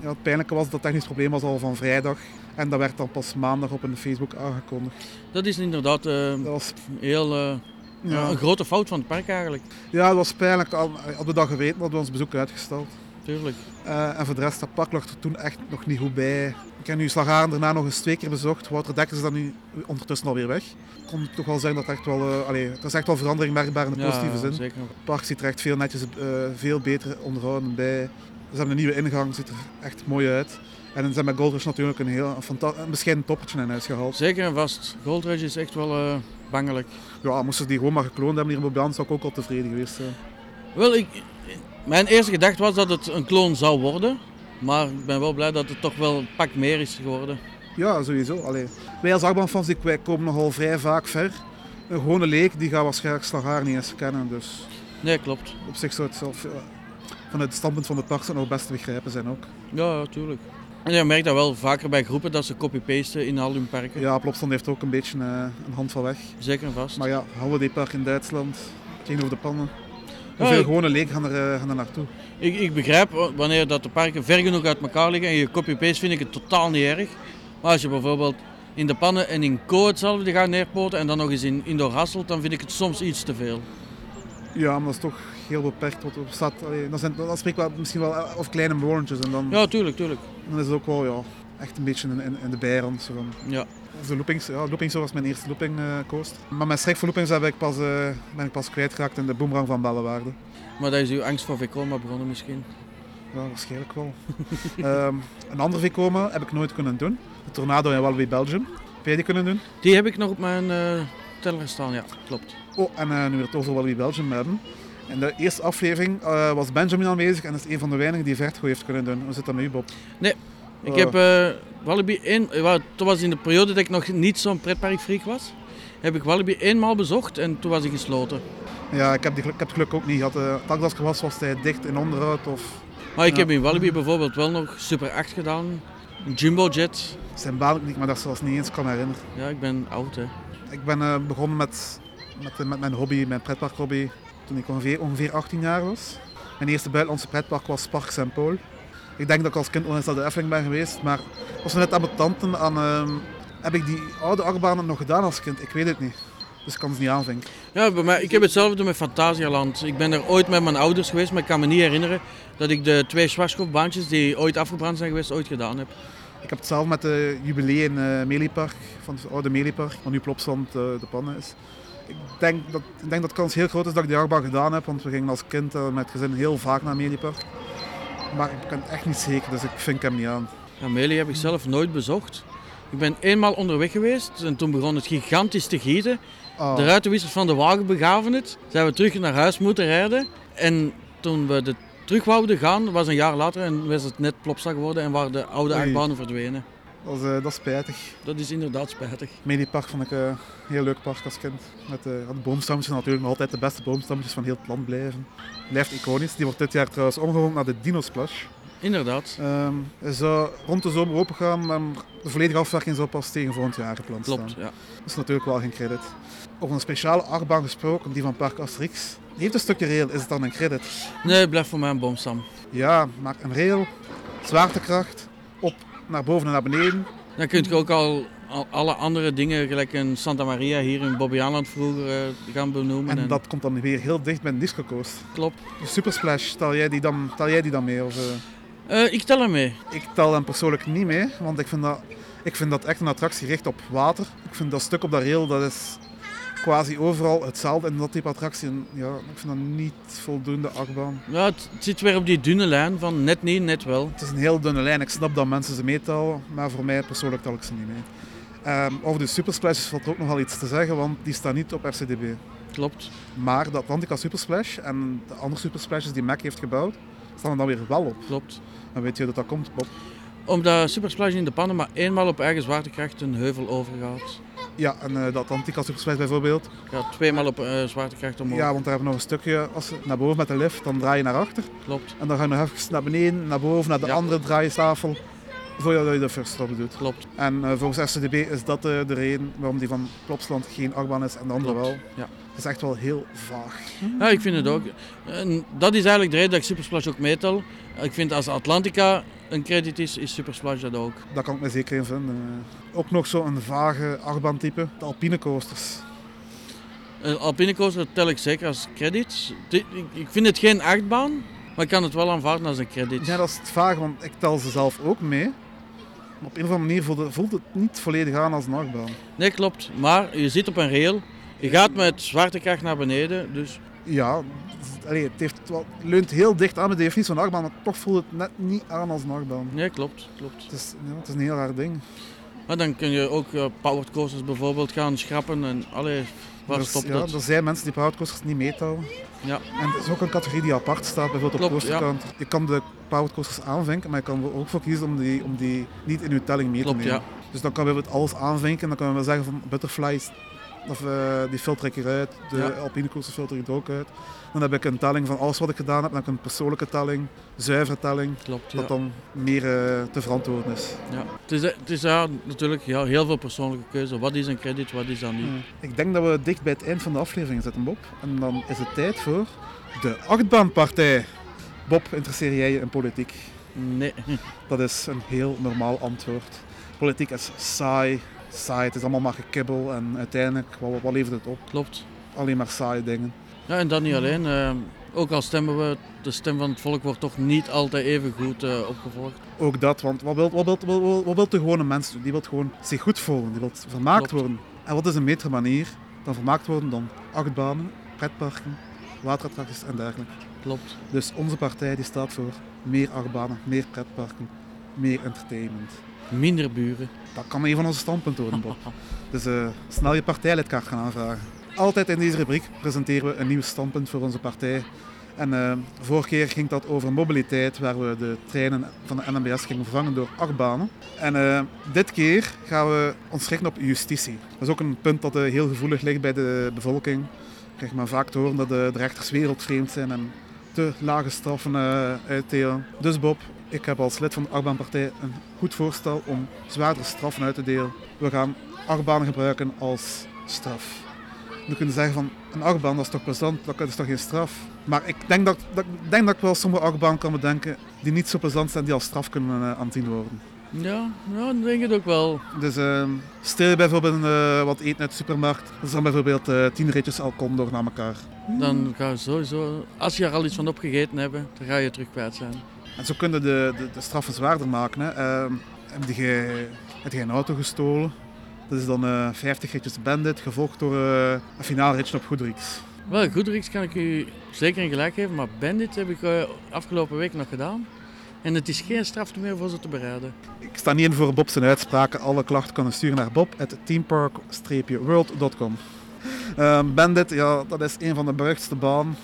Speaker 1: Ja, het pijnlijke was dat het technisch probleem was al van vrijdag. En dat werd dan pas maandag op een Facebook aangekondigd.
Speaker 2: Dat is inderdaad eh,
Speaker 1: Dat was
Speaker 2: heel, eh,
Speaker 1: ja.
Speaker 2: een grote fout van het park eigenlijk.
Speaker 1: Ja, dat was pijnlijk. Al- Hadden we dat geweten, hadden we ons bezoek uitgesteld.
Speaker 2: Tuurlijk.
Speaker 1: Eh, en voor de rest, dat pak lag er toen echt nog niet goed bij. Ik heb nu Slagaren daarna nog eens twee keer bezocht. Wouter Dekkers is dan nu ondertussen alweer weg. Ik kon toch wel zeggen dat echt wel, eh, allee, er is echt wel verandering merkbaar in de positieve zin.
Speaker 2: Zeker.
Speaker 1: Het park ziet er echt veel netjes, eh, veel beter onderhouden bij. Ze hebben een nieuwe ingang, ziet er echt mooi uit. En ze hebben met Gold Rush natuurlijk een heel een fanta- een bescheiden toppertje in huis gehaald.
Speaker 2: Zeker en vast. Gold Rush is echt wel eh, bangelijk.
Speaker 1: Ja, moesten ze die gewoon maar gekloond hebben hier in Bobbejaanland, zou ik ook al tevreden geweest zijn.
Speaker 2: Wel, ik, mijn eerste gedachte was dat het een kloon zou worden. Maar ik ben wel blij dat het toch wel een pak meer is geworden.
Speaker 1: Ja, sowieso. Allee. Wij als achtbaanfans die- wij komen nogal vrij vaak ver. Een gewone leek die gaat waarschijnlijk Slagaar niet eens kennen. Dus
Speaker 2: Nee, klopt.
Speaker 1: op zich zou het zelf, ja, vanuit het standpunt van de park zou het nog best te begrijpen zijn ook.
Speaker 2: Ja, ja, tuurlijk. En je merkt dat wel vaker bij groepen dat ze copy-pasten in al hun parken.
Speaker 1: Ja, Plopsland heeft ook een beetje eh, een hand van weg.
Speaker 2: Zeker en vast.
Speaker 1: Maar ja, Halledepark in Duitsland, tegenover de pannen.
Speaker 2: Ja,
Speaker 1: Hoeveel
Speaker 2: ik-
Speaker 1: gewone leek gaan er, eh, gaan er naartoe?
Speaker 2: Ik, ik begrijp wa- wanneer dat de parken ver genoeg uit elkaar liggen en je copy-paste vind ik het totaal niet erg. Maar als je bijvoorbeeld in de pannen en in Co hetzelfde gaat neerpoten en dan nog eens in Indoor Hasselt, dan vind ik het soms iets te veel.
Speaker 1: Ja, maar dat is toch heel beperkt wat er staat. Allee, dan, zijn, dan spreken we misschien wel eh, of kleine woontjes en dan,
Speaker 2: Ja, tuurlijk, tuurlijk.
Speaker 1: dan is het ook wel ja, echt een beetje in, in, in de bijrand. Zo van.
Speaker 2: Ja.
Speaker 1: Of de loopings, ja, loopings was mijn eerste looping eh, coast. Maar mijn schrik voor loopings heb ik pas, eh, ben ik pas kwijtgeraakt in de boomerang van Bellewaarde.
Speaker 2: Maar dat is uw angst voor Vekoma begonnen misschien.
Speaker 1: Ja, waarschijnlijk wel. Ehm, een ander Vicoma heb ik nooit kunnen doen. De tornado in Walibi Belgium. Heb jij die kunnen doen?
Speaker 2: Die heb ik nog op mijn eh, teller staan, ja, klopt.
Speaker 1: Oh, en eh, nu we het over Walibi Belgium hebben. In de eerste aflevering eh, was Benjamin aanwezig en dat is een van de weinigen die Vertigo heeft kunnen doen. Hoe zit dat met u, Bob?
Speaker 2: Ik
Speaker 1: Oh.
Speaker 2: heb eh, Walibi één, eh, wa- toen was in de periode dat ik nog niet zo'n pretparkfreak was, heb ik Walibi eenmaal bezocht en toen was hij gesloten.
Speaker 1: Ja, ik heb, die geluk, ik heb het geluk ook niet gehad. Uh, als ik er was, was hij dicht in onderhoud of
Speaker 2: Maar ik
Speaker 1: Ja.
Speaker 2: heb in Walibi bijvoorbeeld wel nog Super 8 gedaan, een Jumbo Jet,
Speaker 1: zijn baan ook niet, maar dat zelfs niet eens kan herinneren.
Speaker 2: Ja, ik ben oud, hè.
Speaker 1: Ik ben eh, begonnen met, met, eh, met mijn hobby, mijn pretparkhobby, toen ik ongeveer, ongeveer 18 jaar was. Mijn eerste buitenlandse pretpark was Park St. Paul. Ik denk dat ik als kind onlangs naar de Efteling ben geweest, maar het was net aan mijn tante aan... ehm, heb ik die oude achtbanen nog gedaan als kind? Ik weet het niet. Dus ik kan ze niet aanvinken.
Speaker 2: Ja, bij mij, ik heb hetzelfde met Fantasialand. Ik ben er ooit met mijn ouders geweest, maar ik kan me niet herinneren dat ik de twee Schwarzkopfbaantjes die ooit afgebrand zijn geweest, ooit gedaan heb.
Speaker 1: Ik heb het zelf met de jubilee in eh Meliepark, van het oude Meliepark, wat nu Plopsland eh, de pannen is. Ik denk, dat, ik denk dat de kans heel groot is dat ik die achtbaan gedaan heb, want we gingen als kind eh, met het gezin heel vaak naar Meliepark. Maar ik ben echt niet zeker, dus ik vink hem niet aan.
Speaker 2: Amelie heb ik zelf nooit bezocht. Ik ben eenmaal onderweg geweest en toen begon het gigantisch te gieten.
Speaker 1: Ah,
Speaker 2: De ruitenwissers van de wagen begaven het. Zijn we terug naar huis moeten rijden. En toen we de terug wouden gaan, was een jaar later en was het net plopsa geworden en waren de oude
Speaker 1: Oei.
Speaker 2: achtbanen verdwenen.
Speaker 1: dat, is, eh, dat is spijtig.
Speaker 2: Dat is inderdaad spijtig.
Speaker 1: Meliepark vond ik eh, een heel leuk park als kind. Met eh, de boomstammetjes natuurlijk nog altijd de beste boomstammetjes van heel het land blijven. Blijft iconisch. Die wordt dit jaar trouwens omgevormd naar de Dino Splash.
Speaker 2: Inderdaad.
Speaker 1: Ehm, hij zou rond de zomer open gaan, maar de volledige afwerking zou pas tegen volgend jaar gepland
Speaker 2: Klopt,
Speaker 1: staan.
Speaker 2: ja.
Speaker 1: Dat is natuurlijk wel geen credit. Over een speciale achtbaan gesproken, die van Park Asterix. Die heeft een stukje rail, is het dan een credit?
Speaker 2: Nee, blijf voor mij een boomstam.
Speaker 1: Ja, maar een rail, zwaartekracht, op, naar boven en naar beneden.
Speaker 2: Dan kun je ook al, al alle andere dingen, gelijk in Santa Maria hier in Bobbejaanland vroeger, eh, gaan benoemen.
Speaker 1: En dat komt dan weer heel dicht bij een disco coast.
Speaker 2: klopt.
Speaker 1: De Super Splash, tel jij die dan, tel jij die dan mee? Of, eh?
Speaker 2: Eh, ik tel hem mee.
Speaker 1: Ik tel hem persoonlijk niet mee, want ik vind dat, ik vind dat echt een attractie richt op water. Ik vind dat stuk op dat rail, dat is quasi overal hetzelfde in dat type attractie. En ja, ik vind dat niet voldoende achtbaan.
Speaker 2: Ja, het, het zit weer op die dunne lijn van net niet, net wel.
Speaker 1: Het is een heel dunne lijn, ik snap dat mensen ze meetellen, maar voor mij persoonlijk tel ik ze niet mee. Ehm, over de Supersplashes valt ook nogal iets te zeggen, want die staan niet op RCDB.
Speaker 2: Klopt.
Speaker 1: Maar de Atlantica Supersplash en de andere Supersplashes die Mac heeft gebouwd, staan er dan weer wel op.
Speaker 2: Klopt.
Speaker 1: En weet je hoe dat dat komt, Bob?
Speaker 2: Omdat Supersplash in de pannen maar eenmaal op eigen zwaartekracht een heuvel overgaat.
Speaker 1: Ja, en eh, de Atlantica Supersplash bijvoorbeeld,
Speaker 2: Gaat tweemaal op eh, zwaartekracht omhoog.
Speaker 1: Ja, want daar hebben we nog een stukje. Als je naar boven met de lift, dan draai je naar achter.
Speaker 2: Klopt,
Speaker 1: En dan ga je nog even naar beneden, naar boven, naar de
Speaker 2: Ja.
Speaker 1: andere draaistafel. Voordat je de first stop doet.
Speaker 2: klopt.
Speaker 1: En eh, volgens SCDB is dat eh, de reden waarom die van Plopsland geen achtbaan is en de andere wel.
Speaker 2: ja.
Speaker 1: Het is echt wel heel vaag.
Speaker 2: Ja, ik vind het ook. En dat is eigenlijk de reden dat ik Supersplash ook meetel. Ik vind als Atlantica een credit is, is Supersplash dat ook.
Speaker 1: Daar kan ik me zeker in vinden. eh. Ook nog zo'n vage achtbaantype, de alpine coasters.
Speaker 2: Een Eh, Alpine Coaster tel ik zeker als credit. Dit- Ik ik vind het geen achtbaan, maar ik kan het wel aanvaarden als een credit.
Speaker 1: Ja, dat is het vage, want ik tel ze zelf ook mee. Maar op een of andere manier voelde- voelt het niet volledig aan als een achtbaan.
Speaker 2: Nee, klopt. Maar je zit op een rail, je gaat met zwaartekracht naar beneden, dus
Speaker 1: Ja, het- allee, het, heeft wel, het leunt heel dicht aan met de definitie van achtbaan, maar toch voelt het net niet aan als een achtbaan.
Speaker 2: nee, klopt, klopt.
Speaker 1: Het is, ja, het is een heel raar ding.
Speaker 2: Maar dan kun je ook eh, powered coasters bijvoorbeeld gaan schrappen en allee, waar
Speaker 1: Dus,
Speaker 2: stopt
Speaker 1: ja,
Speaker 2: dat?
Speaker 1: Er zijn mensen die powercoasters niet meetellen.
Speaker 2: Ja.
Speaker 1: En er is ook een categorie die apart staat, bijvoorbeeld op
Speaker 2: Klopt, ja.
Speaker 1: coasterkant. Je kan de powercoasters aanvinken, maar je kan er ook voor kiezen om die, om die niet in je telling mee
Speaker 2: Klopt,
Speaker 1: te nemen.
Speaker 2: ja.
Speaker 1: Dus dan kunnen we het alles aanvinken. Dan kunnen we zeggen van butterflies, of, eh, die filter ik eruit. De
Speaker 2: Ja.
Speaker 1: alpinekoersen filter ik er ook uit. Dan heb ik een telling van alles wat ik gedaan heb. Dan heb ik een persoonlijke telling, zuivere telling.
Speaker 2: Klopt,
Speaker 1: Dat dan meer eh, te verantwoorden is.
Speaker 2: Ja. Het is, het is ja, natuurlijk ja, heel veel persoonlijke keuze. Wat is een credit, wat is dat niet?
Speaker 1: Ik denk dat we dicht bij het eind van de aflevering zitten, Bob. En dan is het tijd voor de achtbaanpartij. Bob, interesseer jij je in politiek?
Speaker 2: Nee.
Speaker 1: Dat is een heel normaal antwoord. Politiek is saai. Saai, het is allemaal maar gekibbel en uiteindelijk, wat, wat levert het op?
Speaker 2: Klopt.
Speaker 1: Alleen maar saaie dingen.
Speaker 2: Ja, en dat
Speaker 1: Hmm.
Speaker 2: niet alleen. eh, ook al stemmen we, de stem van het volk wordt toch niet altijd even goed eh, opgevolgd.
Speaker 1: Ook dat, want wat wil, wat wil, wat wil, wat wil de gewone mens doen? Die wil gewoon zich goed voelen, die wil vermaakt
Speaker 2: Klopt.
Speaker 1: worden. En wat is een betere manier dan vermaakt worden dan achtbanen, pretparken, waterattracties en dergelijke?
Speaker 2: Klopt.
Speaker 1: Dus onze partij die staat voor meer achtbanen, meer pretparken, meer entertainment.
Speaker 2: Minder buren.
Speaker 1: Dat kan een van onze standpunten worden, Bob. Dus eh, snel je partijlidkaart gaan aanvragen. Altijd in deze rubriek presenteren we een nieuw standpunt voor onze partij. En eh, vorige keer ging dat over mobiliteit, waar we de treinen van de NMBS gingen vervangen door achtbanen. En eh, dit keer gaan we ons richten op justitie. Dat is ook een punt dat eh, heel gevoelig ligt bij de bevolking. Ik krijg maar vaak te horen dat eh, de, de rechters wereldvreemd zijn en te lage straffen eh, uitdelen. Dus Bob, ik heb als lid van de achtbaanpartij een goed voorstel om zwaardere straffen uit te delen. We gaan achtbanen gebruiken als straf. We kunnen zeggen van een achtbaan dat is toch plezant, dat is toch geen straf. Maar ik denk dat, dat, ik denk dat ik wel sommige achtbanen kan bedenken die niet zo plezant zijn, die als straf kunnen eh, aanzien worden.
Speaker 2: Ja, ja, ik denk het ook wel.
Speaker 1: Dus ehm stel je bijvoorbeeld eh, wat eten uit de supermarkt, dat is dan bijvoorbeeld eh, tien ritjes Alcondor naar elkaar. Hmm.
Speaker 2: Dan ga je sowieso, als je er al iets van opgegeten hebt, dan ga je terug kwijt zijn.
Speaker 1: En zo kunnen de, de, de straffen zwaarder maken. Hè. Ehm, heb, je, heb je een auto gestolen? Dat is dan eh 50 ritjes bandit, gevolgd door eh, een finaal ritje op Goedriks.
Speaker 2: Wel, Goodricks kan ik u zeker in gelijk geven, maar Bandit heb ik eh, afgelopen week nog gedaan. En het is geen straf meer voor ze te bereiden.
Speaker 1: Ik sta niet in voor Bob zijn uitspraken. Alle klachten kunnen sturen naar bob.teampark-world.com Ehm Bandit, ja, dat is een van de beruchtste banen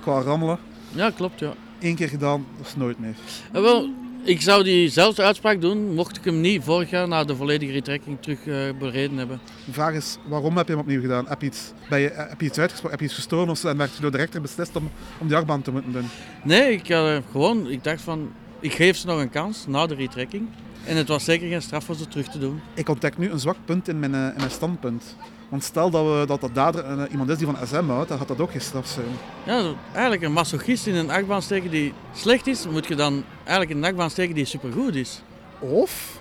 Speaker 1: qua rammelen.
Speaker 2: Ja, klopt, ja.
Speaker 1: Eén keer gedaan, dat is nooit meer.
Speaker 2: Eh, wel, ik zou diezelfde uitspraak doen, mocht ik hem niet vorig jaar na de volledige retrekking terug eh, bereden hebben.
Speaker 1: De vraag is, waarom heb je hem opnieuw gedaan? Heb je iets, ben je, heb je iets uitgesproken? Heb je iets gestolen? Of zo? en werd je door de rechter beslist om, om die achtbaan te moeten doen?
Speaker 2: Nee, ik, had, eh, gewoon, ik dacht van, ik geef ze nog een kans na de retrekking. En het was zeker geen straf voor ze terug te doen.
Speaker 1: Ik ontdek nu een zwak punt in mijn, eh, in mijn standpunt. Want stel dat, we, dat de dader eh, iemand is die van SM houdt, dan gaat dat ook geen straf zijn.
Speaker 2: Ja, eigenlijk een masochist in een achtbaan steken die slecht is, moet je dan eigenlijk in een achtbaan steken die supergoed is.
Speaker 1: Of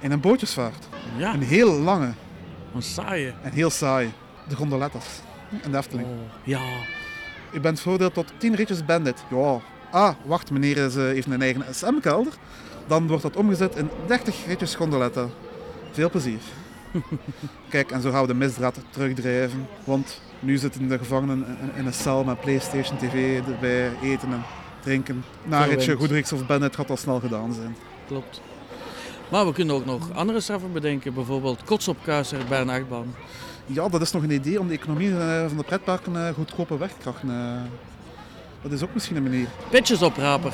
Speaker 1: in een bootjesvaart.
Speaker 2: Ja,
Speaker 1: Een heel lange
Speaker 2: een saaie.
Speaker 1: en heel saai. De gondoletters en de Efteling.
Speaker 2: Ja,
Speaker 1: U bent veroordeeld tot 10 ritjes bandit. Ja. Ah, wacht, meneer is, eh, heeft een eigen SM-kelder. Dan wordt dat omgezet in 30 ritjes gondoletten. Veel plezier. Kijk, en zo gaan we de misdraad terugdrijven. Want nu zitten de gevangenen in- in een cel met Playstation TV erbij, eten en drinken. Na een
Speaker 2: Verwend.
Speaker 1: ritje Goedriks of Bandit gaat dat snel gedaan zijn.
Speaker 2: klopt. Maar we kunnen ook nog andere straffen bedenken, bijvoorbeeld kots op kuiser bij een achtbaan.
Speaker 1: Ja, dat is nog een idee om de economie eh, van de pretparken eh, goedkope werkkrachten... eh, dat is ook misschien een manier.
Speaker 2: Petjes opraper.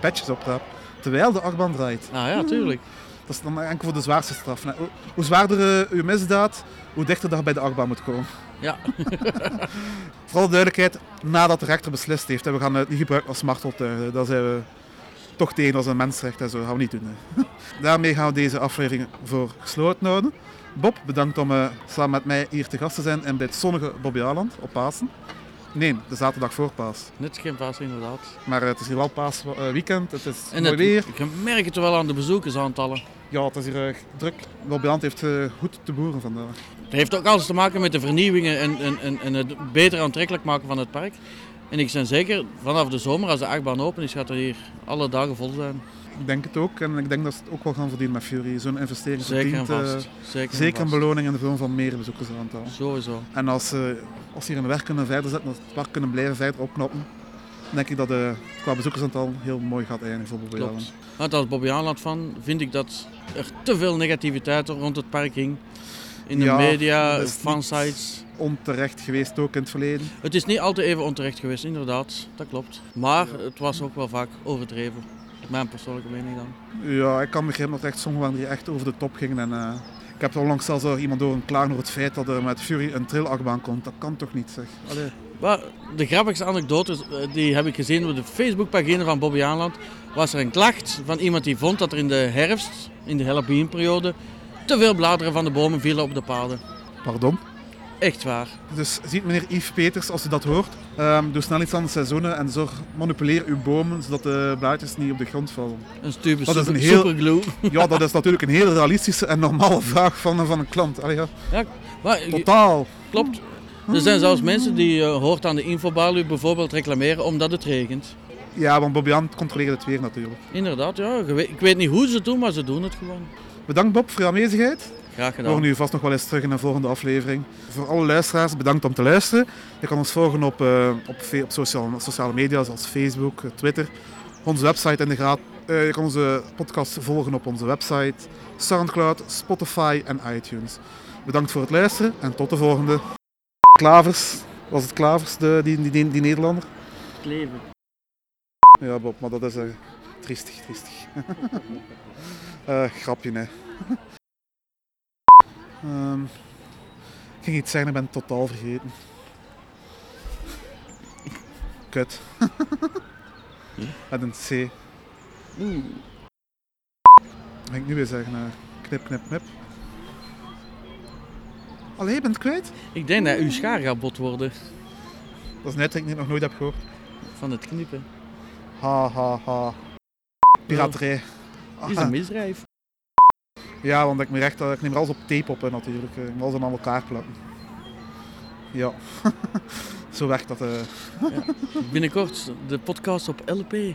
Speaker 1: Patches opraap, terwijl de achtbaan draait.
Speaker 2: Nou ja, tuurlijk.
Speaker 1: Dat is dan enkel voor de zwaarste straf. hè. Hoe- Hoe zwaarder eh, uw misdaad, hoe dichter dat je bij de achtbaan moet komen.
Speaker 2: Ja,
Speaker 1: Vooral de duidelijkheid, nadat de rechter beslist heeft, hè, we gaan het niet gebruiken als marteltuig. Daar zijn we toch tegen als een mensenrecht en zo. Dat gaan we niet doen. hè. Daarmee gaan we deze aflevering voor gesloten houden. Bob, bedankt om eh, samen met mij hier te gast te zijn en bij het zonnige Bobby Aland op Pasen. Nee, de zaterdag voor Paas.
Speaker 2: net geen paas inderdaad.
Speaker 1: Maar eh, het is hier wel Paas eh, weekend. Het is
Speaker 2: En
Speaker 1: mooi
Speaker 2: het,
Speaker 1: weer.
Speaker 2: je merkt het wel aan de bezoekersaantallen.
Speaker 1: Ja, het is hier eh, druk. Bobby Aland heeft eh, goed te boeren vandaag.
Speaker 2: Het heeft ook alles te maken met de vernieuwingen en, en, en, en het beter aantrekkelijk maken van het park. En ik ben zeker, vanaf de zomer als de achtbaan open is, gaat er hier alle dagen vol zijn.
Speaker 1: Ik denk het ook. En ik denk dat ze het ook wel gaan verdienen met Fury. Zo'n investering
Speaker 2: Zeker en
Speaker 1: verdient eh,
Speaker 2: vast. Zeker, en
Speaker 1: zeker een
Speaker 2: vast.
Speaker 1: beloning in de vorm van meer bezoekersaantal.
Speaker 2: Sowieso.
Speaker 1: En als ze als ze hier hun werk kunnen verder zetten, dat het park kunnen blijven verder opknappen, dan denk ik dat eh, het qua bezoekersaantal heel mooi gaat eindigen voor Bobby Allen.
Speaker 2: Klopt. Want als Bobby Aanland van vind ik dat er te veel negativiteit rond het park ging. In de
Speaker 1: Ja, dat
Speaker 2: media,
Speaker 1: is
Speaker 2: fansites.
Speaker 1: Onterecht geweest ook in het verleden.
Speaker 2: Het is niet altijd even onterecht geweest, inderdaad. Dat klopt. Maar het was ook wel vaak overdreven. Mijn persoonlijke mening dan.
Speaker 1: Ja, ik kan begrijpen dat er echt sommigen waren die echt over de top gingen. En, eh, ik heb onlangs zelfs al iemand horen klagen over het feit dat er met Fury een trillachtbaan komt. Dat kan toch niet, zeg. Allee.
Speaker 2: Maar de grappigste anekdote eh, die heb ik gezien op de Facebookpagina van Bobby Aanland. Was er een klacht van iemand die vond dat er in de herfst, in de Halloweenperiode, te veel bladeren van de bomen vielen op de paden.
Speaker 1: Pardon?
Speaker 2: Echt waar.
Speaker 1: Dus ziet meneer Yves Peters, als u dat hoort, ehm, doe snel iets aan de seizoenen en zorg, manipuleer uw bomen zodat de blaadjes niet op de grond vallen.
Speaker 2: Een stupe
Speaker 1: Oh, Dat is
Speaker 2: super,
Speaker 1: een heel-
Speaker 2: superglue.
Speaker 1: Ja, dat is natuurlijk een heel realistische en normale vraag van, van een klant. Allee, ja,
Speaker 2: Maar, je-
Speaker 1: totaal.
Speaker 2: klopt. Er zijn zelfs mensen die eh, hoort aan de infobalie bijvoorbeeld reclameren omdat het regent.
Speaker 1: Ja, want Bobby Jan controleert het weer natuurlijk.
Speaker 2: Inderdaad, ja. je weet- Ik weet niet hoe ze het doen, maar ze doen het gewoon.
Speaker 1: Bedankt Bob voor je aanwezigheid.
Speaker 2: Graag
Speaker 1: We
Speaker 2: gedaan.
Speaker 1: horen u vast nog wel eens terug in een volgende aflevering. Voor alle luisteraars, bedankt om te luisteren. Je kan ons volgen op, eh, op, fe- op social- sociale media zoals Facebook, eh, Twitter. Onze website in de graad. Eh, je kan onze podcast volgen op onze website, Soundcloud, Spotify en iTunes. Bedankt voor het luisteren en tot de volgende. Klavers, was het Klavers, de, die, die, die, die Nederlander?
Speaker 2: Kleven.
Speaker 1: Ja, Bob, maar dat is eh, triestig, triestig. Eh, grapje, hè. Ehm, ik ging iets zeggen, ik ben het totaal vergeten. Kut. Met een C. Wat ga ik nu weer zeggen? eh, knip, knip, knip. Allee, je bent het kwijt?
Speaker 2: Ik denk dat uw schaar gaat bot worden
Speaker 1: Dat is een uitdrukking die ik nog nooit heb gehoord.
Speaker 2: van het knippen.
Speaker 1: Ha, ha, ha. Piraterij. Ah,
Speaker 2: is een misdrijf.
Speaker 1: Ja, want ik, me recht, ik neem er alles op tape op hè, natuurlijk. eh. Ik moet alles aan elkaar plakken. Ja, zo werkt dat. eh.
Speaker 2: Binnenkort de podcast op LP.